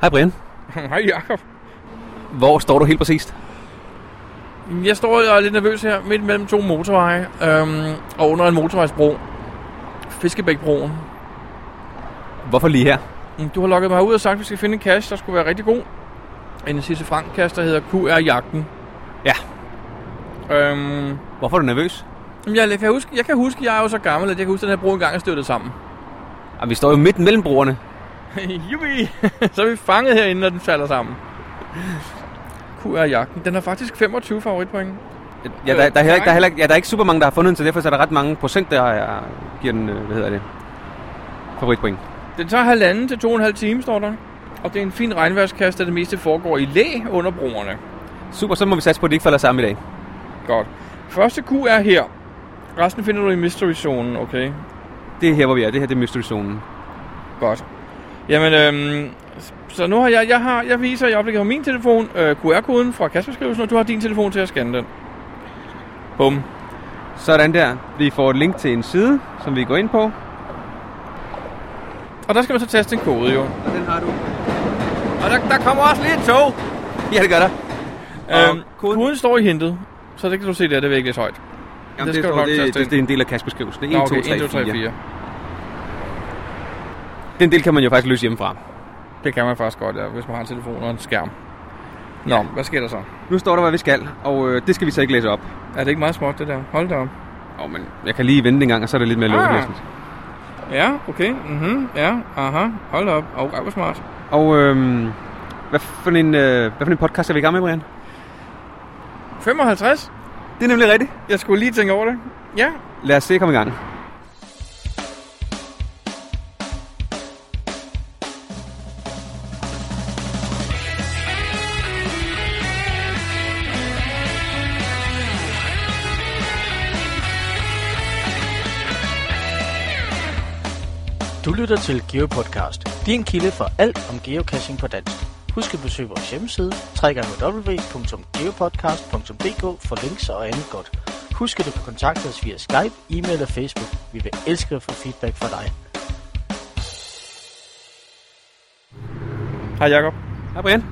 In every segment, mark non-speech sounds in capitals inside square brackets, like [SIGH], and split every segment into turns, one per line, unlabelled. Hej Brian.
Hej Jakob.
Hvor står du helt præcist?
Jeg står og er lidt nervøs her midt mellem to motorveje øhm, og under en motorvejsbro. Fiskebækbroen. Mm,
Hvorfor lige her?
Du har lukket mig ud og sagt, at vi skal finde en cash, der skulle være rigtig god. En Cisse Frank cash, der hedder QR-jagten.
Ja.
Øhm,
Hvorfor er du nervøs?
jamen, jeg, kan huske, jeg kan huske, jeg er jo så gammel, at jeg kan huske, at den her bro engang er støttet sammen.
Ah, vi står jo midt mellem broerne.
[LAUGHS] Jubi! [LAUGHS] så er vi fanget herinde, når den falder sammen. QR-jagten. Den har faktisk 25 favoritpoint.
Ja, der, der, er heller ikke, der, er heller, ikke- ja, der er ikke super mange, der har fundet den, så derfor er der ret mange procent, der er, giver den, øh, hvad hedder det, favoritpoint.
Den tager halvanden til to og en halv time, står der. Og det er en fin regnværskast, der det meste foregår i læ under broerne.
Super, så må vi satse på, at de ikke falder sammen i dag.
Godt. Første Q er her. Resten finder du i mystery-zonen, okay?
Det er her, hvor vi er. Det her det er mystery-zonen.
Godt. Jamen, øhm, så nu har jeg, jeg, har, jeg viser i øjeblikket på min telefon øh, QR-koden fra kastbeskrivelsen, og du har din telefon til at scanne den. Bum.
Sådan der. Vi får et link til en side, som vi går ind på.
Og der skal man så taste en kode, jo.
Og den har du.
Og der, der kommer også lige et tog.
Ja, det gør der. Og
Øhm, koden?
koden?
koden står i hintet, så det kan du se der, det er ikke lidt højt.
Jamen,
Det
det, det,
skal du
står,
nok
det,
taste
det,
ind.
det, er en del af kastbeskrivelsen. Det er 1,
Nå,
2, 3, 4.
4.
Den del kan man jo faktisk løse hjemmefra.
Det kan man faktisk godt, ja, hvis man har en telefon og en skærm. Nå, hvad sker der så?
Nu står der, hvad vi skal, og øh, det skal vi så ikke læse op.
Er det ikke meget småt, det der? Hold da op.
Åh, oh, men jeg kan lige vente en gang, og så er der lidt mere
Ah.
ah.
Ja, okay. Mhm, ja, aha. Hold da op. Og oh, hvor smart.
Og øhm, hvad, for en, øh, hvad for en podcast er vi i gang med, Brian?
55?
Det er nemlig rigtigt.
Jeg skulle lige tænke over det. Ja.
Lad os se at komme i gang.
Du lytter til GeoPodcast, din kilde for alt om geocaching på dansk. Husk at besøge vores hjemmeside, www.geopodcast.dk for links og andet godt. Husk at du kan kontakte os via Skype, e-mail og Facebook. Vi vil elske at få feedback fra dig.
Hej Jacob.
Hej, Brian.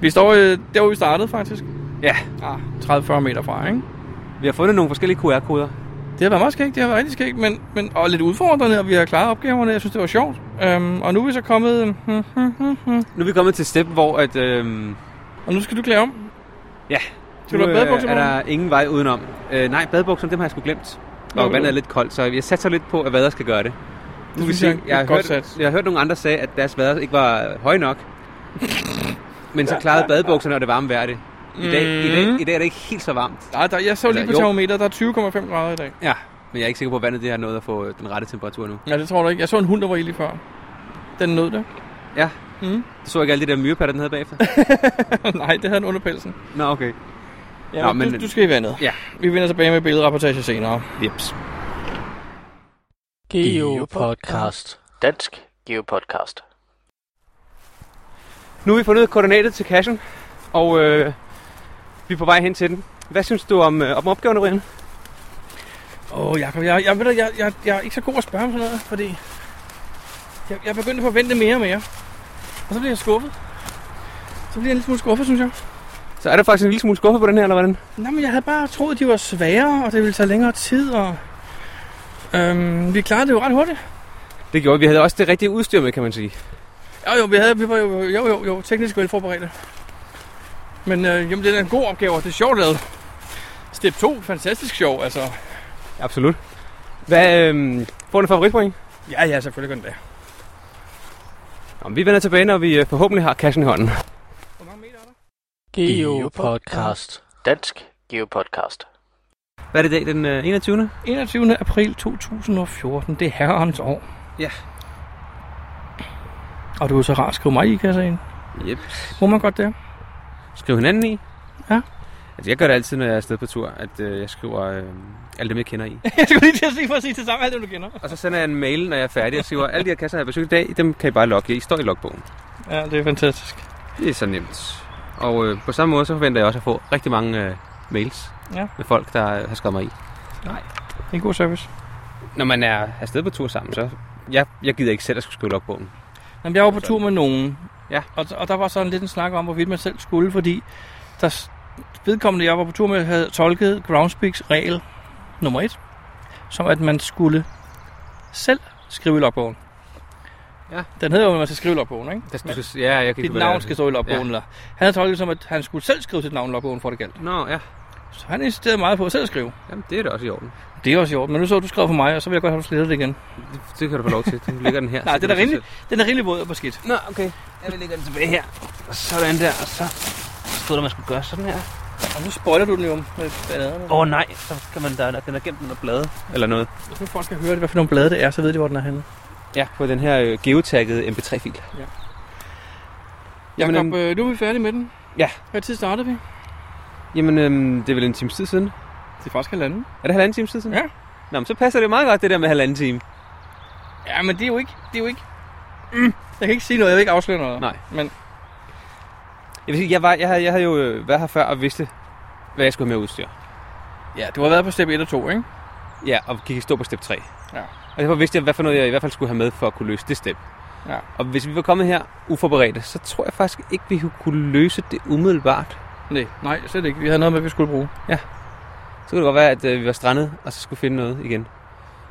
Vi står øh, der, hvor vi startede faktisk.
Ja,
Ah, 30-40 meter fra, ikke?
vi har fundet nogle forskellige QR-koder.
Det har været meget skægt, det har været rigtig skægt, men, men og lidt udfordrende, og vi har klaret opgaverne. Jeg synes, det var sjovt. Øhm, og nu er vi så kommet... øhm, hmm, hmm, hmm, hmm.
Nu er vi kommet til step, hvor at, øhm,
Og nu skal du klæde om.
ja,
Skal du
øh,
have badebukser
er
på?
der ingen vej udenom. Øh, nej, badebukser, dem har jeg sgu glemt.
Nå,
Og vandet
øh.
er lidt koldt, så jeg satser lidt på, at vader skal gøre det. Nu
synes jeg er et
jeg, har
godt
hørt,
sats.
jeg har hørt nogle andre sige, at deres vader ikke var øh, høje nok. Men så klarede badebukserne og det varme vejr det. I dag, i, dag, I dag er det ikke helt så varmt.
Mm. Nej, der, jeg så lige på
Eller, jo.
termometeret, der er 20,5 grader i dag.
Ja, men jeg er ikke sikker på, at vandet det har nået at få øh, den rette temperatur nu.
Ja, det tror du ikke. Jeg så en hund, der var i lige før. Den nød
[LAUGHS]
det.
Ja.
Mm.
Du så ikke alle de der myrepatter, den havde bagefter?
Nej, det havde den under pelsen.
Nå, okay.
Ja,
Nå,
men
men-
du, du skal i vandet.
Ja.
Vi vender tilbage med billedrapportage senere.
Jeps.
GeoPodcast. Dansk GeoPodcast.
Nu har vi fundet koordinatet til kassen, og øh, vi er på vej hen til den. Hvad synes du om, øh, om opgaven, Brian?
Åh, oh, Jacob, jeg, jeg, ved dig, jeg, jeg, jeg er ikke så god at spørge om sådan noget, fordi jeg, jeg begyndte at forvente mere og mere. Og så bliver jeg skuffet. Så bliver jeg en lille smule skuffet, synes jeg.
Så er der faktisk en lille smule skuffet på den her, eller hvordan?
Nå, men jeg havde bare troet, de var sværere, og det ville tage længere tid, og... Øhm, vi klarede det jo ret hurtigt.
Det gjorde vi. Vi havde også det rigtige udstyr med, kan man sige.
Jo, jo, vi, havde, vi var jo, jo, jo, jo teknisk velforberedte. Men øh, jamen, det er da en god opgave, og det er sjovt lavet. Step 2, fantastisk sjov, altså.
Absolut. Hvad øh, får du en favoritpoint?
Ja, ja, selvfølgelig gør den det.
Nå, men vi vender tilbage, når vi øh, forhåbentlig har kassen i hånden.
Hvor mange meter er der?
GeoPodcast. Dansk GeoPodcast.
Hvad er det i dag, den øh, 21.
21. april 2014, det er herrens år.
Ja.
Og du er så rart at skrive mig i kassaen.
Yep.
Må man godt det?
Skriv hinanden i.
Ja.
Altså, jeg gør det altid, når jeg er afsted på tur, at øh, jeg skriver øh, alle dem, jeg kender i.
[LAUGHS] jeg skulle lige til at sige for at sige til sammen alt, det du kender.
Og så sender jeg en mail, når jeg er færdig, og skriver, alle de her kasser, jeg har besøgt i dag, dem kan I bare logge. I står i logbogen.
Ja, det er fantastisk.
Det er så nemt. Og øh, på samme måde, så forventer jeg også at få rigtig mange øh, mails
Ja.
med folk, der øh, har skrevet mig i.
Det er en god service.
Når man er afsted på tur sammen, så... Jeg, jeg gider ikke selv at skulle skrive logbogen.
Jamen, jeg var på tur med nogen,
Ja.
Og, og der var sådan lidt en snak om, hvorvidt man selv skulle, fordi der s- vedkommende, jeg var på tur med, havde tolket Groundspeaks regel nummer et, som at man skulle selv skrive i logbogen.
Ja.
Den hedder jo, at man skal skrive i logbogen, ikke?
Der, du skal, ja, jeg kan
Dit
hvad det er.
navn skal stå i logbogen. Ja. Eller. Han havde tolket det som, at han skulle selv skrive sit navn i logbogen, for det galt.
Nå, ja.
Så han insisterede meget på at selv at skrive.
Jamen, det er da også i orden.
Det er også i orden, men nu så du skrev for mig, og så vil jeg godt have, at du sletter det igen.
Det, det kan du få lov til. Nu ligger den her.
[LAUGHS] Nej,
Så
det
kan
er da
du se
rimeligt. Den er rimelig våd og beskidt.
selv. Nå, okay. Jeg vil lægge den tilbage her. Sådan der, og så stod der, man skulle gøre sådan her.
Og nu spoiler du den jo med bladene.
Åh oh, nej, så kan man da, den er gemt under blade. Eller noget.
Hvis nu folk skal høre, det, hvad for nogle blade det er, så ved de, hvor den er henne.
Ja, på den her øh, geotaggede mp3-fil.
Ja.
Jamen,
Jakob,
øhm,
øh, nu er vi færdige med den.
Ja.
Hvad tid startede vi?
jamen øhm, det er vel en times tid siden.
øh- Det er faktisk halvanden.
Er det halvanden time siden?
Ja.
Nå, men så passer det jo meget godt, det der med halvanden time.
Ja, men det er jo ikke... Det er jo ikke mm, jeg kan ikke sige noget, jeg vil ikke afsløre noget.
Nej.
Men
Jeg, vil sige, jeg, var, jeg, havde, jeg havde jo øh, været her før og vidste, hvad jeg skulle have med udstyr.
ja, du har været på step 1 og 2, ikke?
Ja, og gik i stå på step 3.
Ja.
Og derfor vidste jeg, hvad for noget jeg i hvert fald skulle have med for at kunne løse det step.
Ja.
Og hvis vi var kommet her uforberedte, så tror jeg faktisk ikke, vi kunne løse det umiddelbart.
Nej, nej, slet ikke. Vi havde noget med, vi skulle bruge.
Så kunne det godt være, at øh, vi var strandet, og så skulle finde noget igen.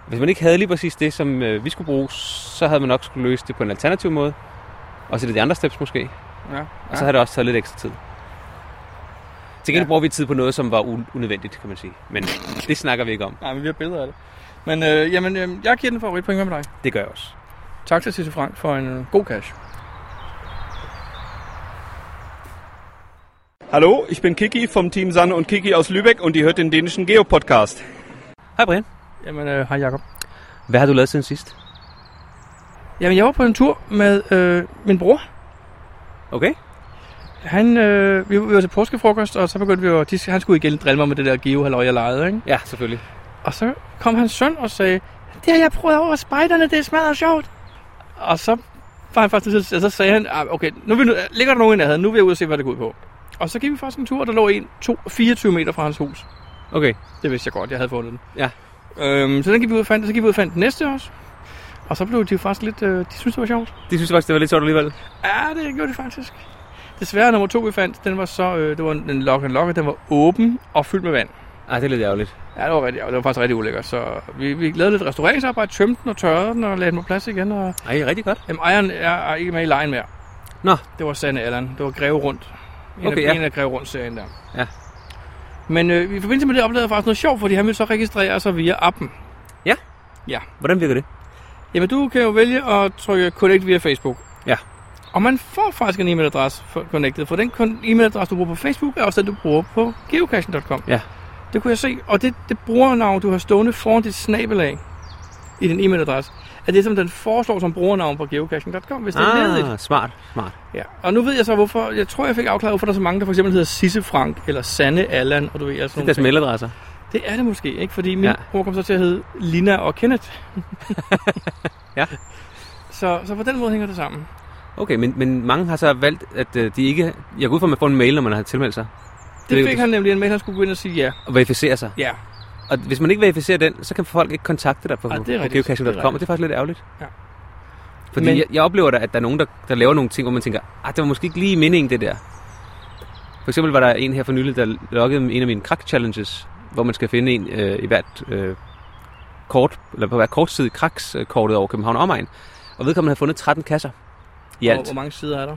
Hvis man ikke havde lige præcis det, som øh, vi skulle bruge, så havde man nok skulle løse det på en alternativ måde. Og så de andre steps måske.
Ja.
Og så har det også taget lidt ekstra tid. Til gengæld
Ja.
bruger vi tid på noget, som var u- unødvendigt, kan man sige. Men det snakker vi ikke om.
Nej, men vi har billeder af det. Men øh, jamen, øh, jeg giver den favoritpoint med dig.
Det gør jeg også.
Tak til Sisse Frank for en øh, god cash.
Hallo, ich bin Kiki vom Team Sanne und Kiki aus Lübeck und ihr hört den dänischen Geo-Podcast.
Hej Brian.
Jamen, øh, hej Jacob.
Hvad har du lavet siden sidst?
Jamen, jeg var på en tur med øh, min bror.
Okay.
Han, øh, vi, vi var til påskefrokost, og så begyndte vi jo... De, han skulle igen drille mig med det der geo halløj jeg legede, ikke?
Ja, selvfølgelig.
Og så kom hans søn og sagde, det har jeg prøvet over spejderne, det smadrer sjovt. Og så var han faktisk nødt til- og så sagde han, "Ah, okay, nu er vi, nu- ligger der nogen, jeg havde, nu vil jeg ud og se, hvad det går ud på. Og så gik vi faktisk en tur, og der lå en to, 24 meter fra hans hus.
Okay.
Det vidste jeg godt, jeg havde fundet den.
Ja.
Øhm, så den gik vi ud og fandt, så gik vi ud og fandt den næste også. Og så blev de jo faktisk lidt, øh, de syntes det var sjovt.
De synes faktisk, det var lidt sjovt alligevel.
Ja, det gjorde de faktisk. Desværre nummer to, vi fandt, den var så, øh, det var en en lock and lock, og den var åben og fyldt med vand.
Ej, det er lidt ærgerligt.
Ja, det var, rigtig, det var faktisk rigtig ulækkert, så vi, vi lavede lidt restaureringsarbejde, tømte den og tørrede den og lagde den på plads igen, og
Ej, rigtig godt.
jamen, ejeren er, er ikke med i lejen mere.
Nå.
Det var Sande Allan, det var Greve Rundt. En,
Okay,
af,
ja.
en af Greve Rundt-serien der.
Ja.
Men øh, i forbindelse med det oplevede jeg faktisk noget sjovt, fordi han ville så registrere sig via appen.
Hvordan virker det?
Jamen, du kan jo vælge at trykke connect via Facebook.
Ja.
Og man får faktisk en e-mailadresse for connected, for den kon- e-mailadresse, du bruger på Facebook, er også den, du bruger på geocaching.com.
Ja.
Det kunne jeg se, og det, det brugernavn, du har stående foran dit snabelag i din e-mailadresse, er det, som den foreslår som brugernavn på geocaching.com, hvis det er ledigt.
Ah, smart, smart.
Ja. Og nu ved jeg så, hvorfor, jeg tror, jeg fik afklaret, hvorfor der er så mange, der for eksempel hedder Sisse Frank, eller Sanne Allan, og du ved, altså
Det er deres mailadresser.
det er det måske, ikke? Fordi min
Ja.
ja. bror kom så til at hedde Lina og Kenneth.
[LAUGHS] Ja.
Så, så på den måde hænger det sammen.
Okay, men, men mange har så valgt, at øh, de ikke... Jeg går ud fra, at man får en mail, når man har tilmeldt sig.
Det,
ved
det
jeg
fik
ikke.
han nemlig en mail, han skulle gå ind og sige ja.
Og verificere sig.
Ja.
Og hvis man ikke verificerer den, så kan folk ikke kontakte dig på,
Ah, det er
på
rigtigt. Det er
geocaching.com,
rigtigt.
og det er faktisk lidt ærgerligt.
Ja.
Fordi
Men-
jeg, jeg oplever da, at der er nogen, der, der laver nogle ting, hvor man tænker, at det var måske ikke lige meningen, det der. For eksempel var der en her for nylig, der loggede en af mine krak-challenges, hvor man skal finde en øh, i hvert øh, kort, eller på hver kortside kraks-kortet over København og omegn. Og vedkommende havde fundet 13 kasser i
Og
alt.
hvor mange sider er der?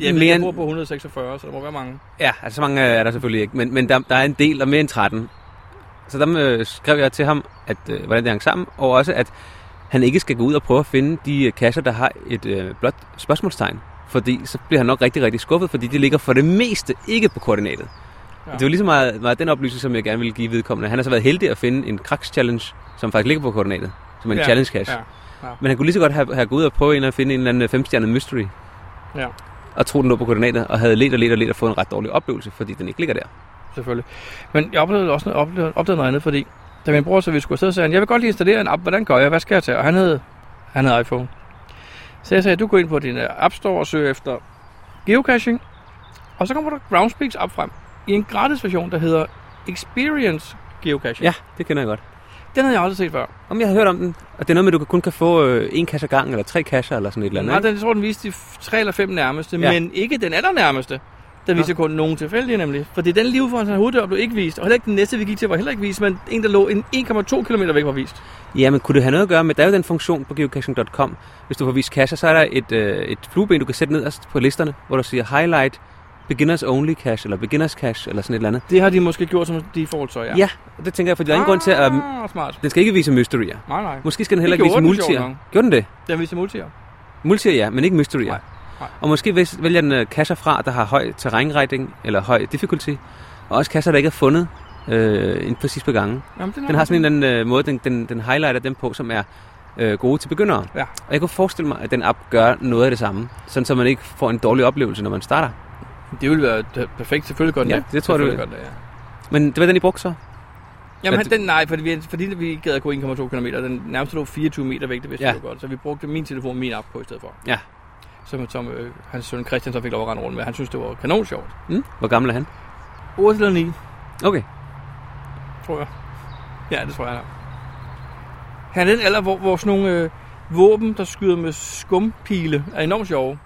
Ja,
Jeg,
mere
ved, jeg
end-
bor på 146, så der må være mange.
Ja, altså så mange øh, er der selvfølgelig ikke, men, men der, der er en del, og mere end 13. Så der øh, skrev jeg til ham, at, øh, hvordan det hang sammen, og også at han ikke skal gå ud og prøve at finde de øh, kasser, der har et øh, blåt spørgsmålstegn. Fordi så bliver han nok rigtig, rigtig skuffet, fordi de ligger for det meste ikke på koordinatet. Ja.
Ja.
Det var lige så meget, meget den oplysning, som jeg gerne ville give vedkommende. Han har så været heldig at finde en kraks challenge, som faktisk ligger på koordinatet, som er en
Ja,
ja. challenge cache. Ja.
Ja.
Men han kunne lige så godt have, have gået ud og prøvet en eller anden- finde en eller anden øh, femstjernet mystery.
Ja.
Og tro, den lå på koordinater, og havde let og let og let og fået en ret dårlig oplevelse, fordi den ikke ligger der.
selvfølgelig. Men jeg oplevede også noget, oplevede, oplevede noget andet, fordi da min bror så vi skulle afsted, sagde han, jeg vil godt lige installere en app, hvordan gør jeg, hvad skal jeg tage? Og han havde, han havde iPhone. Så jeg sagde, du går ind på din øh, App Store og søger efter geocaching, og så kommer der Groundspeaks app frem i en gratis version, der hedder Experience Geocaching.
Ja, det kender jeg godt.
Den havde jeg aldrig set før.
Om jeg havde hørt om den, og det er noget med, at du kun kan få øh, en kasse ad gangen, eller tre kasser, eller sådan et eller andet.
Nej,
ikke?
den, jeg tror, den viste de f- tre eller fem nærmeste,
Ja.
ja. men ikke den allernærmeste. Den
Nå.
viste kun nogen tilfældige nemlig. For det er den liv foran sin hoveddør blev ikke vist, og heller ikke den næste, vi gik til, var heller ikke vist, men en, der lå en 1,2 km væk var vist.
Ja, men kunne det have noget at gøre med, der er jo den funktion på geocaching.com, hvis du får vist kasser, så er der et, øh, et flueben, du kan sætte nederst på listerne, hvor der siger highlight, beginners only cache, eller beginners cache, eller sådan et eller andet.
Det har de måske gjort som default, så ja.
Ja, og det tænker jeg, for der er ingen grund til at...
Ah, smart.
Den skal ikke vise mysterier.
Nej, nej.
Måske skal den heller
Det
ikke vise
gjorde den, sjovt
multier.
nok.
Gjorde den det?
Den viste multier.
Multier ja, men ikke mysterier.
Nej, nej.
Og måske vis- vælger den øh, kasser fra, der har høj terrænrækning, eller høj difficulty, og også kasser, der ikke er fundet øh, en præcis på gangen.
Jamen, den,
Den har sådan en eller anden øh, måde, den, den, den highlighter dem på, som er øh, gode til begyndere.
Ja.
Og jeg kunne forestille mig, at den app gør noget af det samme, sådan så man ikke får en dårlig oplevelse, når man starter.
Det ville være d- perfekt, selvfølgelig godt.
Ja, det tror jeg, det
Godt, ja.
Men det var den, I brugte så?
Jamen,
Men
han, den, nej, fordi vi, fordi vi gad at gå 1,2 km. Den nærmeste lå 24 meter væk, det vidste
Ja.
ja. vi jo godt. Så vi brugte min telefon, min app på i stedet for.
Ja.
Som, som øh, hans søn Christian så fik lov at rende rundt med. Han synes, det var kanon sjovt.
Mm? Hvor gammel er han?
8 eller 9,
Okay.
tror jeg. Ja, det tror jeg, han er. Han er den alder, hvor, hvor sådan nogle øh, våben, der skyder med skumpile, er enormt sjove.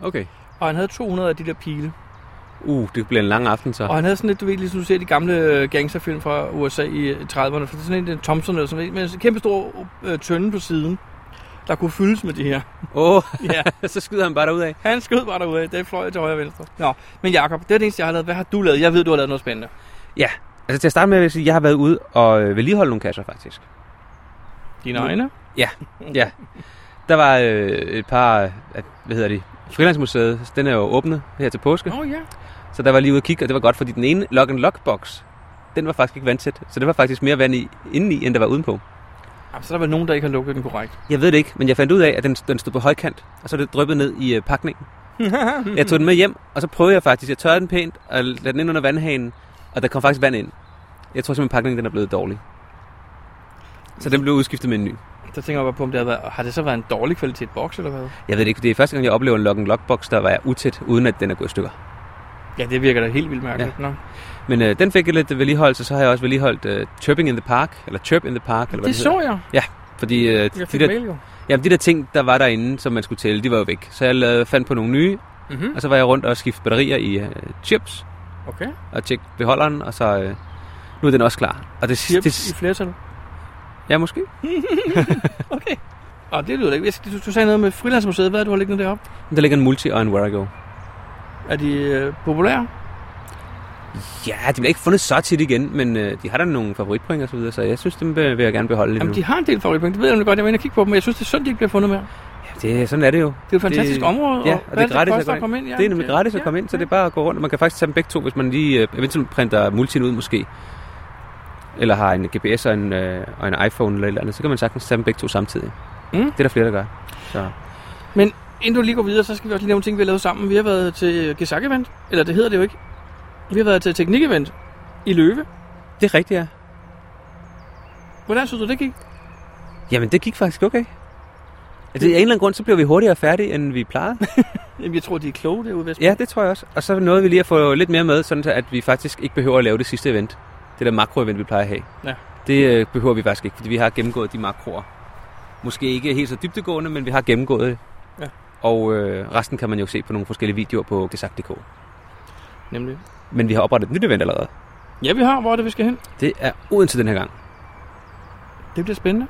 Okay.
Og han havde 200 af de der pile.
Uh, det bliver en lang aften så.
Og han havde sådan lidt, du ved, ligesom du ser de gamle øh, gangsterfilm fra USA i øh, 30'erne, for det er sådan en den Thompson eller sådan noget, med en kæmpe stor øh, tønde på siden, der kunne fyldes med det her.
Åh, oh,
[LAUGHS]
[LAUGHS]
Ja,
så skyder han bare derud af.
han skød bare derude, det fløj til højre og venstre. Nå, men Jakob, det er det eneste, jeg har lavet. Hvad har du lavet? Jeg ved, du har lavet noget spændende.
Altså til at starte med vil jeg sige, at jeg har været ude og øh, vedligeholde nogle kasser faktisk.
Dine
Nu.
egne? Mm.
Der var øh, et par, øh, at- hvad hedder de, Frilandsmuseet, den er jo åbnet her til påske.
Åh oh, ja.
Så der var jeg lige ude og kigge, og det var godt, fordi den ene lock and lock box, den var faktisk ikke vandtæt. Så det var faktisk mere vand i, indeni, end der var udenpå.
Jamen, så er der vel nogen, der ikke har lukket den korrekt.
Jeg ved det ikke, men jeg fandt ud af, at den, den stod på højkant, og så er det dryppet ned i øh, pakningen. jeg tog den med hjem, og så prøvede jeg faktisk, jeg tørrede den pænt, og lagde den ind under vandhanen, og der kom faktisk vand ind. Jeg tror simpelthen, pakningen den er blevet dårlig. Så den blev udskiftet med en ny.
Så tænker jeg bare på, om det har, været, har det så været en dårlig kvalitet boks, eller hvad?
Jeg ved det ikke, det er første gang, jeg oplever en lock and lock box, der var utæt, uden at den er gået i stykker.
Ja, det virker da helt vildt mærkeligt. Ja. Nå.
Men øh, den fik jeg lidt vedligeholdelse, så har jeg også vedligeholdt øh, Chirping in the Park, eller Chirp in the Park, eller hvad
Det
det, hedder.
så jeg.
Fordi øh,
Jeg
de,
fik
der,
mail jo.
jamen, de der ting, der var derinde, som man skulle tælle, de var jo væk. Så jeg lavede, fandt på nogle nye,
Mhm.
og så var jeg rundt og skiftede batterier i øh, chips,
Okay.
og tjekke beholderen, og så... Øh, nu er den også klar. Og det
Chips
sidste...
i
Det,
flertal.
ja, måske.
[LAUGHS] Okay. Og det lyder da ikke. Jeg skal- Du, du sagde noget med Frilandsmuseet. Hvad er det, du har liggende deroppe?
Der ligger en multi og en where I go.
Er de øh, populære?
Ja, de bliver ikke fundet så tit igen, men øh, de har da nogle favoritpoint og så videre, så jeg synes, dem vil vil jeg gerne beholde lidt
Jamen,
nu.
de har en del favoritpunkter. Det ved jeg nemlig godt. Jeg var inde og kigge på dem, men jeg synes, det er synd, de ikke bliver fundet mere.
Ja, det, sådan er det jo.
Det er et fantastisk
Det-
område.
ja, og
hvad
det er gratis at
koster
gå ind.
komme ind. Ja,
det er nemlig gratis at komme ind, så det er bare at gå rundt. Man kan faktisk tage dem begge to, hvis man lige øh, eventuelt printer multien ud måske. Eller har en GPS og en, øh, og en iPhone eller et eller andet. Så kan man sagtens tage dem begge to samtidig.
Mm.
Det er der flere, der gør. Så.
Inden du lige går videre, så skal vi også lige nævne ting, vi har lavet sammen. Vi har været til Gesak Event, eller det hedder det jo ikke. Vi har været til Teknik Event i Løve.
Det er rigtigt, ja.
Hvordan synes du, det gik?
Jamen, det gik faktisk okay. Altså, af en eller anden grund, så bliver vi hurtigere færdige, end vi plejede.
Jamen, jeg tror, de er kloge derude, Vesper.
ja, det tror jeg også. Og så nåede vi lige at få lidt mere med, sådan så, at vi faktisk ikke behøver at lave det sidste event. Det der makroevent, vi plejer at have.
Ja.
Det øh, behøver vi faktisk ikke, fordi vi har gennemgået de makroer. Måske ikke helt så dybtegående, men vi har gennemgået det.
Ja.
Og øh, resten kan man jo se på nogle forskellige videoer på gesak.dk.
Nemlig.
Men vi har oprettet et nyt event allerede.
Ja, vi har. Hvor er det, vi skal hen?
Det er Odense den her gang.
Det bliver spændende.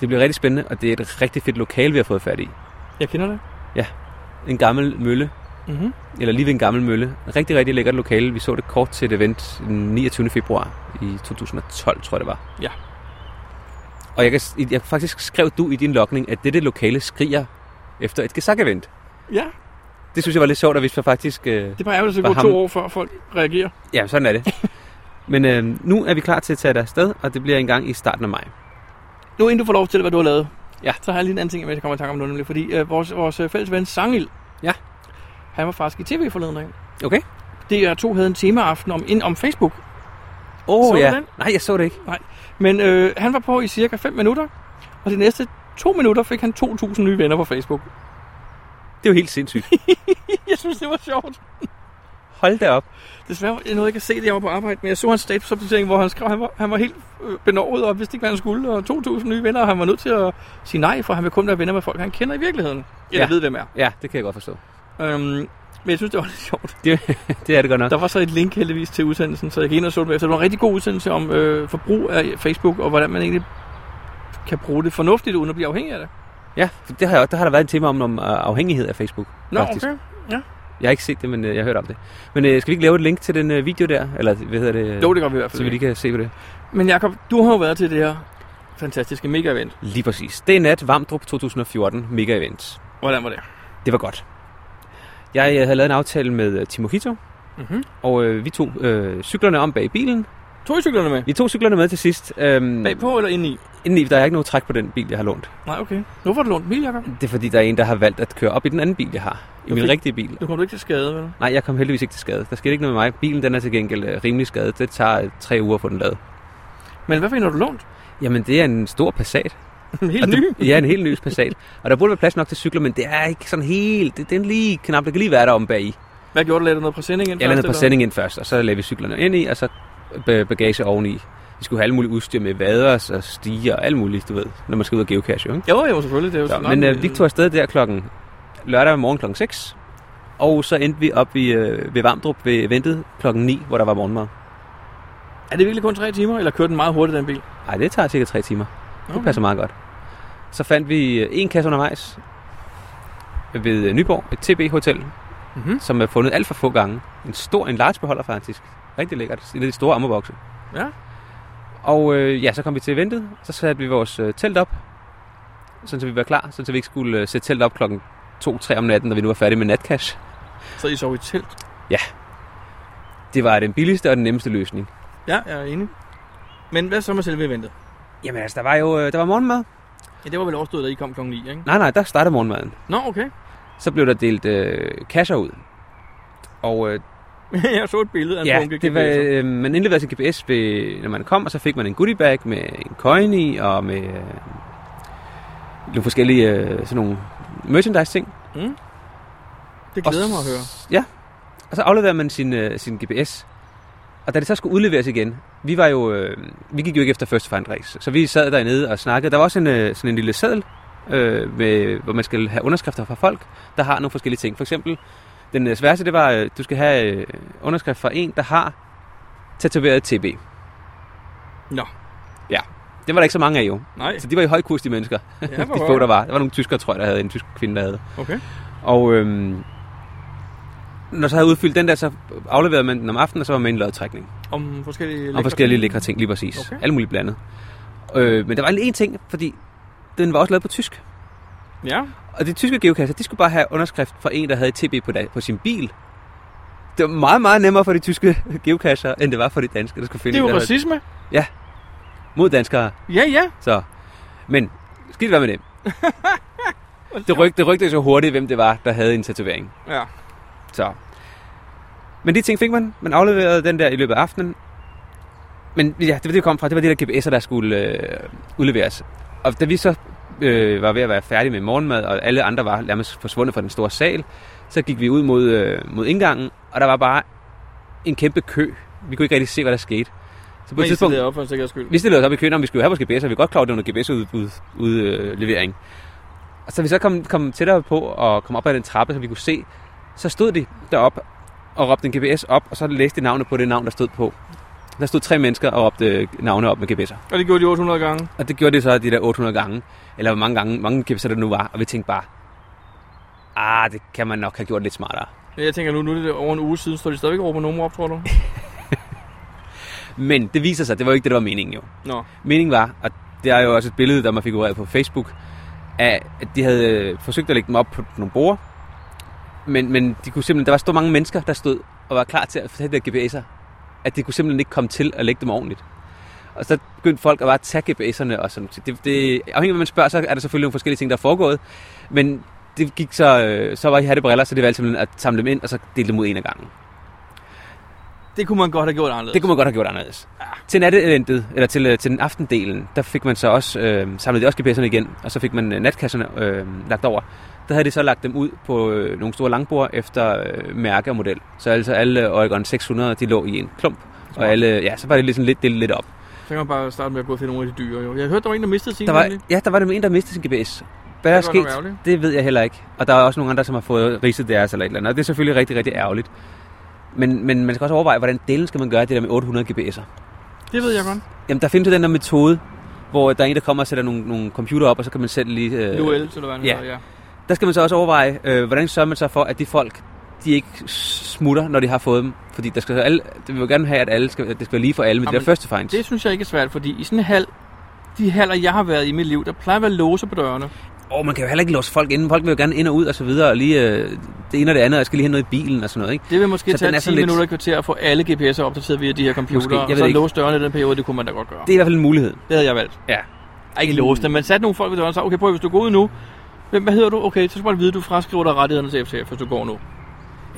Det bliver rigtig spændende, og det er et rigtig fedt lokale, vi har fået fat i.
Jeg kender det.
En gammel mølle,
Mm-hmm.
eller lige ved en gammel mølle. Rigtig, rigtig lækkert lokale. Vi så det kort til et event den 29. februar i 2012, tror jeg det var.
Ja.
Og jeg, kan, s- jeg faktisk skrev du i din lokning, at dette lokale skriger efter et gesak-event.
Ja,
Det synes jeg var lidt sjovt, at hvis man faktisk... Øh,
det er bare ærgerligt, at
For
det går
ham.
to år, før folk reagerer.
ja, sådan er det.
[LAUGHS]
Men øh, nu er vi klar til at tage dig afsted, og det bliver en gang i starten af maj.
Nu inden du får lov til, hvad du har lavet,
Ja.
så har jeg lige en anden ting, jeg vil komme i tanke om nu, nemlig fordi øh, vores, vores øh, fælles ven Sangil,
Ja.
han var faktisk i tv forleden dag.
Okay.
DR2 havde en temaaften om, ind om Facebook.
Åh
Så
oh,
du
ja.
den?
Nej, jeg så det ikke.
Men øh, han var på i cirka 5 minutter, og de næste to minutter fik han 2.000 nye venner på Facebook.
Det er jo helt sindssygt.
Jeg synes, det var sjovt.
Hold da op.
Desværre jeg nåede ikke at se det, jeg var på arbejde, men jeg så hans statusopdatering, hvor han skrev, han var, han var helt øh, benovet og vidste ikke, hvad han skulle, og 2.000 nye venner, og han var nødt til at sige nej, for han vil kun være venner med folk, han kender i virkeligheden.
Ja.
Eller ja. ved, hvem er.
Ja, det kan jeg godt forstå.
Øhm, men jeg synes, det var lidt sjovt.
[LAUGHS] Det er det godt nok.
Der var så et link heldigvis til udsendelsen, så jeg gik ind og så det bagefter. Det var en rigtig god udsendelse om øh, forbrug af Facebook, og hvordan man egentlig kan bruge det fornuftigt, uden at blive afhængig af det.
Ja, for det har, jeg- der har der været et tema om, om øh, afhængighed af Facebook.
Nå,
faktisk.
okay.
Jeg har ikke set det, men øh, jeg har hørt om det. Men øh, skal vi ikke lave et link til den øh, video der? Eller hvad hedder det?
Jo, det gør vi i hvert fald.
Så vi lige kan se på det.
Men Jacob, du har jo været til det her fantastiske mega-event.
Lige præcis. Det er nat Vamdrup 2014 Mega Event.
Hvordan var det?
Det var godt. Jeg øh, havde lavet en aftale med øh, Timo Hito,
Mm-hmm.
og øh, vi tog øh, cyklerne om bag bilen.
Tog I cyklerne med?
Vi tog cyklerne med til sidst. Øhm,
Bagpå eller indeni?
indeni, der er ikke noget træk på den bil, jeg har lånt.
Nej, okay. Nu var det lånt bil, Jacob.
Det er fordi, der er en, der har valgt at køre op i den anden bil, jeg har. I
Du
min
fik-
rigtige bil.
Nu kom du ikke til skade, vel?
Nej, jeg kom heldigvis ikke til skade. Der skete ikke noget med mig. Bilen den er til gengæld øh, rimelig skadet. Det tager øh, tre uger at få den lavet.
Men hvad fik du lånt?
Jamen, det er en stor
[LAUGHS]
Passat.
Helt
og
ny.
Det, ja, en helt ny Passat. og der burde være plads nok til cykler, men det er ikke sådan helt... Det, den lige knap, det kan lige være der om bag i.
Hvad gjorde du? Lagde du noget præsending ind
Jeg
først,
landede på sending ind først, og så lagde vi cyklerne ind i, og så ba- bagage oveni. Vi skulle have alt muligt udstyr med vaders og stiger og alt muligt, du ved, når man skal ud og geocache, jo, ikke?
Jo, jo, selvfølgelig. Det er jo
Så,
sådan,
men
nok,
øh, vi tog afsted der klokken lørdag morgen klokken 6, og så endte vi op i, øh, ved Vamdrup ved ventet klokken 9, hvor der var morgenmad.
Er det virkelig kun tre timer, eller kørte den meget hurtigt, den bil?
Ej, det tager cirka 3 timer. Det passer meget godt. Så fandt vi øh, en kasse undervejs ved øh, Nyborg, et TB-hotel,
Mm-hmm.
som er fundet alt for få gange. En stor, en large beholder faktisk. Rigtig lækkert. I lidt store ammerbokse.
Ja.
Og øh, ja, så kom vi til eventet. Så satte vi vores øh, telt op, sådan så vi var klar. Sådan så vi ikke skulle øh, sætte telt op klokken 2-3 om natten, når vi nu var færdige med natcash.
Så I sov i telt?
Det var den billigste og den nemmeste løsning.
Ja, jeg er enig. Men hvad så med selve eventet?
Jamen altså, der var jo øh, der var morgenmad.
Ja, det var vel overstået, da I kom kl. 9, ikke?
Nej, nej, der startede morgenmaden.
Nå, okay. [LAUGHS]
Så blev der delt øh, kasser ud. Og øh,
jeg så et billede af en
Ja,
bunke
det var,
GPS'er.
øh, man indleverede sin GPS, ved, når man kom, og så fik man en goodie bag med en coin i, og med øh, nogle forskellige øh, sådan nogle merchandise ting.
Det glæder mig at høre.
Ja, og så afleverede man sin, øh, sin GPS. Og da det så skulle udleveres igen, vi var jo, øh, vi gik jo ikke efter first find race, så vi sad dernede og snakkede. Der var også en, øh, sådan en lille seddel, øh, med, hvor man skal have underskrifter fra folk, der har nogle forskellige ting. For eksempel, den øh, sværeste, det var, øh, du skal have øh, underskrift fra en, der har tatoveret TB.
Nå.
Ja, det var der ikke så mange af jo.
Nej,
Så de var i høj kurs, de mennesker.
ja,
[LAUGHS] de få, der var. Der var nogle tyskere, tror jeg, der havde en tysk kvinde, der havde.
Okay.
Og øhm, når så havde udfyldt den der, så afleverede man den om aftenen, og så var man med i en lodtrækning.
Om Mm, forskellige
øh, Om
lækre
forskellige
ting.
lækre ting, lige præcis. Okay.
Okay.
Alt muligt blandet. Øh, men der var lige en ting, fordi den var også lavet på tysk.
Ja,
Og de tyske geokasser, de skulle bare have underskrift fra en, der havde TB på, da- på sin bil. Det var meget, meget nemmere for de tyske [LAUGHS] geokasser, end det var for de danske, der skulle
det
finde
er
en,
jo
der havde-
racisme.
mod danskere.
Ja, ja.
Så. Men skidt være med
[LAUGHS]
det. det, ryk, det rygte så hurtigt, hvem det var, der havde en tatovering.
Ja.
Så. Men de ting fik man. Man afleverede den der i løbet af aftenen. Men ja, det var det, vi kom fra. Det var de der GPS'er, der skulle øh, udleveres. Og da vi så øh, var ved at være færdige med morgenmad, og alle andre var nærmest forsvundet fra den store sal, så gik vi ud mod, øh, mod indgangen, og der var bare en kæmpe kø. Vi kunne ikke rigtig se, hvad der skete. Så
Men I tidspunkt... op for en sikkerheds skyld.
vi stillede os op i køen, om vi skulle have vores GPS, og vi var godt klar, over, at det var noget GPS-udlevering. øh, Og så vi så kom, kom tættere på og kom op ad den trappe, som vi kunne se, så stod de deroppe og råbte en GPS op, og så læste de navnet på det navn, der stod på. Der stod tre mennesker og råbte øh, navne op med GPS'er.
Og det gjorde de 800 gange.
Og det gjorde det så de der 800 gange, eller hvor mange gange, mange GPS'er der nu var, og vi tænkte bare, ah, det kan man nok have gjort lidt smartere.
Men Jeg tænker nu, nu er det over en uge siden, står de stadigvæk og råber nummer op,
[LAUGHS]
tror du?
Men det viser sig, det var jo ikke det, der var meningen jo.
Nå.
Meningen var, og det er jo også et billede, der man figureret på Facebook, af, at de havde øh, forsøgt at lægge dem op på nogle borde, men, men de kunne simpelthen, der var så mange mennesker, der stod og var klar til at tage de der GPS'er, at de kunne simpelthen ikke komme til at lægge dem ordentligt. Og så begyndte folk at bare tage GPS'erne og sådan. Det, det, afhængig af, hvad man spørger, så er der selvfølgelig nogle forskellige ting, der er foregået, men det gik så, øh, så var I hatte briller, så det valgte simpelthen at samle dem ind, og så dele dem ud en af gangen.
Det kunne man godt have gjort anderledes.
Det kunne man godt have gjort anderledes.
Ah.
Ja. Til natteeventet, eller til, øh, til den aftendelen, der fik man så også, øh, samlede de også GPS'erne igen, og så fik man øh, natkasserne øh, lagt over. der havde de så lagt dem ud på øh, nogle store langbord efter øh, mærke og model. Så altså alle Oregon 600, de lå i en klump. Og alle, ja, så var det ligesom lidt delt lidt op.
Så kan man bare starte med at gå og finde nogle af de dyre. Jo. Jeg hørte, der var en, der mistede sin.
Der var,
nemlig.
ja, der var nemlig en, der mistede sin GPS. Hvad der er
Det var nok
sket,
ærgerligt.
det ved jeg heller ikke. Og der er også nogle andre, som har fået ridset deres eller et eller andet. Og det er selvfølgelig rigtig, rigtig ærgerligt. Men, men man skal også overveje, hvordan delen skal man gøre det der med 800 GPS'er.
Det ved jeg godt.
Jamen, der findes jo den der metode, hvor der er en, der kommer og sætter nogle, nogle computer op, og så kan man selv lige... Øh,
Nu el, så det var
ja.
ja.
Der skal man så også overveje, øh, hvordan sørger man så for, at de folk, de ikke smutter, når de har fået dem. Fordi der skal så alle, det vil jo gerne have, at alle skal, at det skal være lige for alle, men det
Jamen,
der første finds.
Det synes jeg ikke er svært, fordi i sådan en hal, de haller, jeg har været i mit liv, der plejer at være låse på dørene.
Og man kan jo heller ikke låse folk inden. Folk vil jo gerne ind og ud og så videre, og lige øh, det ene og det andet, og jeg skal lige have noget i bilen og sådan noget, ikke?
Det vil måske
Så
så
den
tage
er
10
sådan lidt-
lidt... minutter i kvarter at få alle GPS'er opdateret via de her computere,
Måske, jeg
og
ved
så
ikke.
låse dørene i den periode, det kunne man da godt gøre.
Det er i hvert fald en mulighed.
Det havde jeg valgt.
Ja.
Ej, Ikke låse dem, men sat nogle folk ved døren og sagde, okay, prøv at- hvis du går ud nu, hvem, hvad hedder du? Okay, så skal man vide, at du fraskriver dig rettighederne til FTF, hvis du går nu.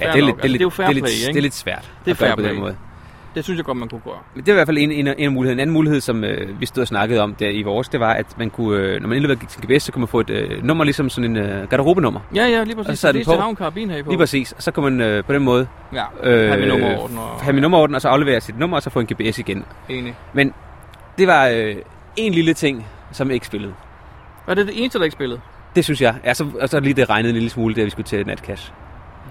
Ja,
Fair
det er, lidt,
nok.
det, er
Altså,
lidt,
det er jo fair
det, er
play,
lidt,
ikke?
det er lidt svært
Det er
at gøre
fair
på den
play.
måde.
Det synes jeg godt, man kunne gøre.
Men det er i hvert fald en, en, en af mulighederne. En anden mulighed, som øh, vi stod og snakkede om der i vores, det var, at man kunne, øh, når man indleverede sin GPS, så kunne man få et øh, nummer, ligesom sådan en øh, garderobenummer.
Ja, ja, lige
Og
præcis.
så er den
det er
på.
har en karabin her i på.
Lige præcis. Og så kunne man øh, på den måde
Ja,
øh,
have min nummerorden og...
have min nummerorden, og så aflevere sit nummer, og så få en GPS igen.
Enig.
Det var øh, en lille ting, som ikke spillede.
Var det det eneste, der ikke spillede?
Det synes jeg. Ja, så, og så lige det regnede en lille smule, da vi skulle til natcash.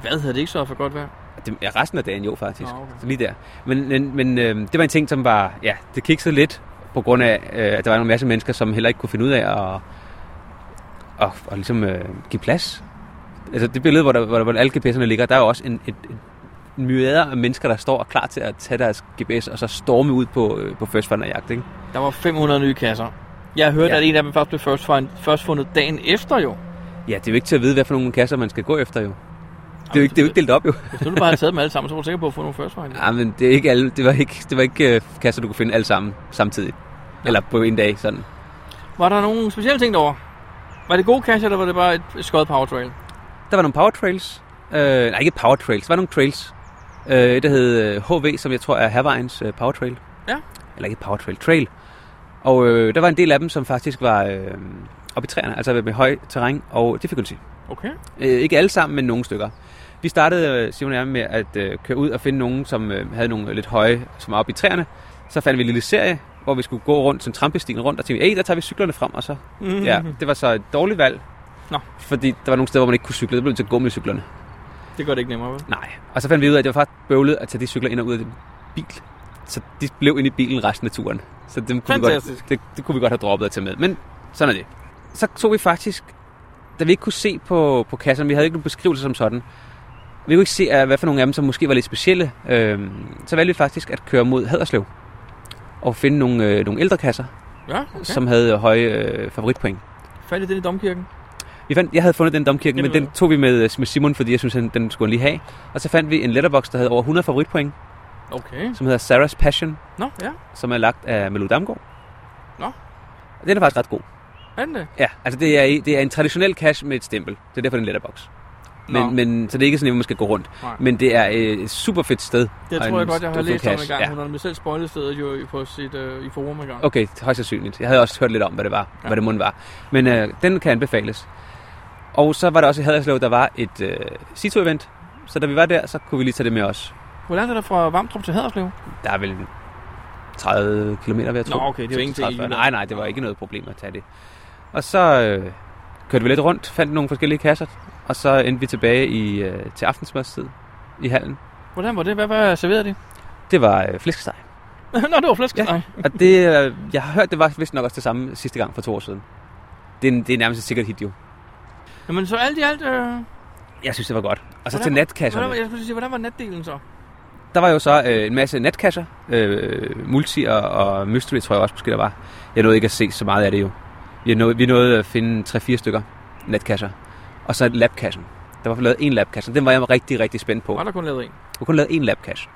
Hvad havde det ikke så for godt vejr?
Det, ja, resten af dagen jo faktisk.
Nå, okay.
Så lige der. Men, men, men øh, det var en ting, som var... Ja, det kiksede lidt, på grund af, øh, at der var en masse mennesker, som heller ikke kunne finde ud af at, at, at ligesom, øh, give plads. Altså det billede, hvor, der, hvor, der, hvor alle GPS'erne ligger, der er jo også en, et, et en myriader af mennesker, der står og er klar til at tage deres GPS og så storme ud på, øh, på first finder jagt, ikke?
Der var 500 nye kasser. Jeg hørte,
Ja.
ja. at en af dem først blev først, find, først fundet dagen efter jo.
Ja, det er jo ikke til at vide, hvad for nogle kasser man skal gå efter, jo. Det er jo ikke, det er jo ikke delt op, jo.
Hvis du nu bare havde taget dem alle sammen, så var du sikker på at få nogle first find.
Ja, Ah, men det, er ikke alle, det var ikke, det var ikke øh, kasser, du kunne finde alle sammen samtidig. Eller på en dag, sådan.
Var der nogle specielle ting derovre? Var det gode kasser, eller var det bare et et skød powertrail?
Der var nogle power trails. Øh, nej, ikke power trails. Der var nogle trails. Øh, et, der hed øh, HV, som jeg tror er Havvejens øh, power trail.
Ja.
Eller ikke power trail, trail. Og øh, der var en del af dem, som faktisk var øh, oppe i træerne, altså med høj terræn og difficulty.
Okay.
Øh, ikke alle sammen, men nogle stykker. Vi startede, øh, Simon og jeg, med at øh, køre ud og finde nogen, som øh, havde nogle lidt høje, som var oppe i træerne. Så fandt vi en lille serie, hvor vi skulle gå rundt, sådan trampestien rundt, og tænkte, hey, der tager vi cyklerne frem, og så... Mm-hmm. Ja, det var så et dårligt valg.
Nå.
Fordi der var nogle steder, hvor man ikke kunne cykle, så blev vi til at gå med cyklerne.
Det gør det ikke nemmere, vel?
Nej. Og så fandt vi ud af, at det var faktisk bøvlet at tage de cykler ind og ud af den bil. Så de blev inde i bilen resten af turen. Så dem kunne vi godt,
Fantastisk.
det, det, kunne vi godt have droppet at tage med. Men sådan er det. Så tog vi faktisk, da vi ikke kunne se på, på kasserne, vi havde ikke nogen beskrivelse som sådan, vi kunne ikke se, at hvad for nogle af dem, som måske var lidt specielle, øh, så valgte vi faktisk at køre mod Haderslev og finde nogle, øh, nogle ældre kasser, okay.
Ja, okay.
som havde høje øh, favoritpoint.
Faldt i den i domkirken?
Vi fandt, jeg havde fundet den domkirken,
Det
men
ved
den tog vi med, øh, med Simon, fordi jeg synes, han, den skulle han lige have. Og så fandt vi en letterbox, der havde over 100 favoritpoint,
Okay.
som hedder Sarah's Passion,
Nå, ja.
som er lagt af Melo Damgaard.
Nå.
Og Den er faktisk ret god.
Er den det?
Ja, altså det er, det er en traditionel cash med et stempel. Det er derfor, den er en letterbox. Men, men, så det er ikke sådan, at man skal gå rundt.
Nej.
Men det er øh, et super fedt sted.
det
og
tror jeg
en
godt, jeg har
stor
læst om en
kasse,
gang.
ja.
Ja. Hun har nemlig selv spoilet stedet jo i- på sit, øh, i forum en gang.
Okay, højst sandsynligt. Jeg havde også hørt lidt om, hvad det var, ja.
Ja.
hvad det mund var. Men øh, den kan anbefales. Og så var der også i Haderslev, der var et øh, Cito-event. Så da vi var der, så kunne vi lige tage det med os.
Hvor langt er der fra Vamdrup til Haderslev? [LAUGHS]
Der er vel 30 km, vil jeg tro.
Nå, okay, det er jo ingenting
30.
alligevel.
Nej, nej, det var ikke noget problem at tage det. Og så øh, kørte vi lidt rundt, fandt nogle forskellige kasser, og så endte vi tilbage i, øh, til aftensmadstid i hallen.
Hvordan var det? Hvad, hvad serverede de?
Det var øh, flæskesteg.
Nå, det var flæskesteg. Ja.
Og det, øh, jeg har hørt, det var vist nok også det samme sidste gang for to år siden. Det er, en- det er nærmest et sikkert hit, jo.
Jamen, så alt i alt... Øh,
Jeg synes, det var godt. Og så
Hvordan-
til
hvordan, var-
natkasserne.
jeg skulle sige, hvordan var natdelen så?
Der var jo så øh, en masse natkasser, øh, multi og, og mystery, tror jeg også måske, der var. Jeg nåede ikke at se så meget af det jo. Vi nåede, vi nåede at finde 3-4 stykker natkasser. Og så labkassen. Der var lavet en labkasse, og den var jeg rigtig, rigtig spændt på.
Var der kun lavet en?
Jeg kun lavet en labcache.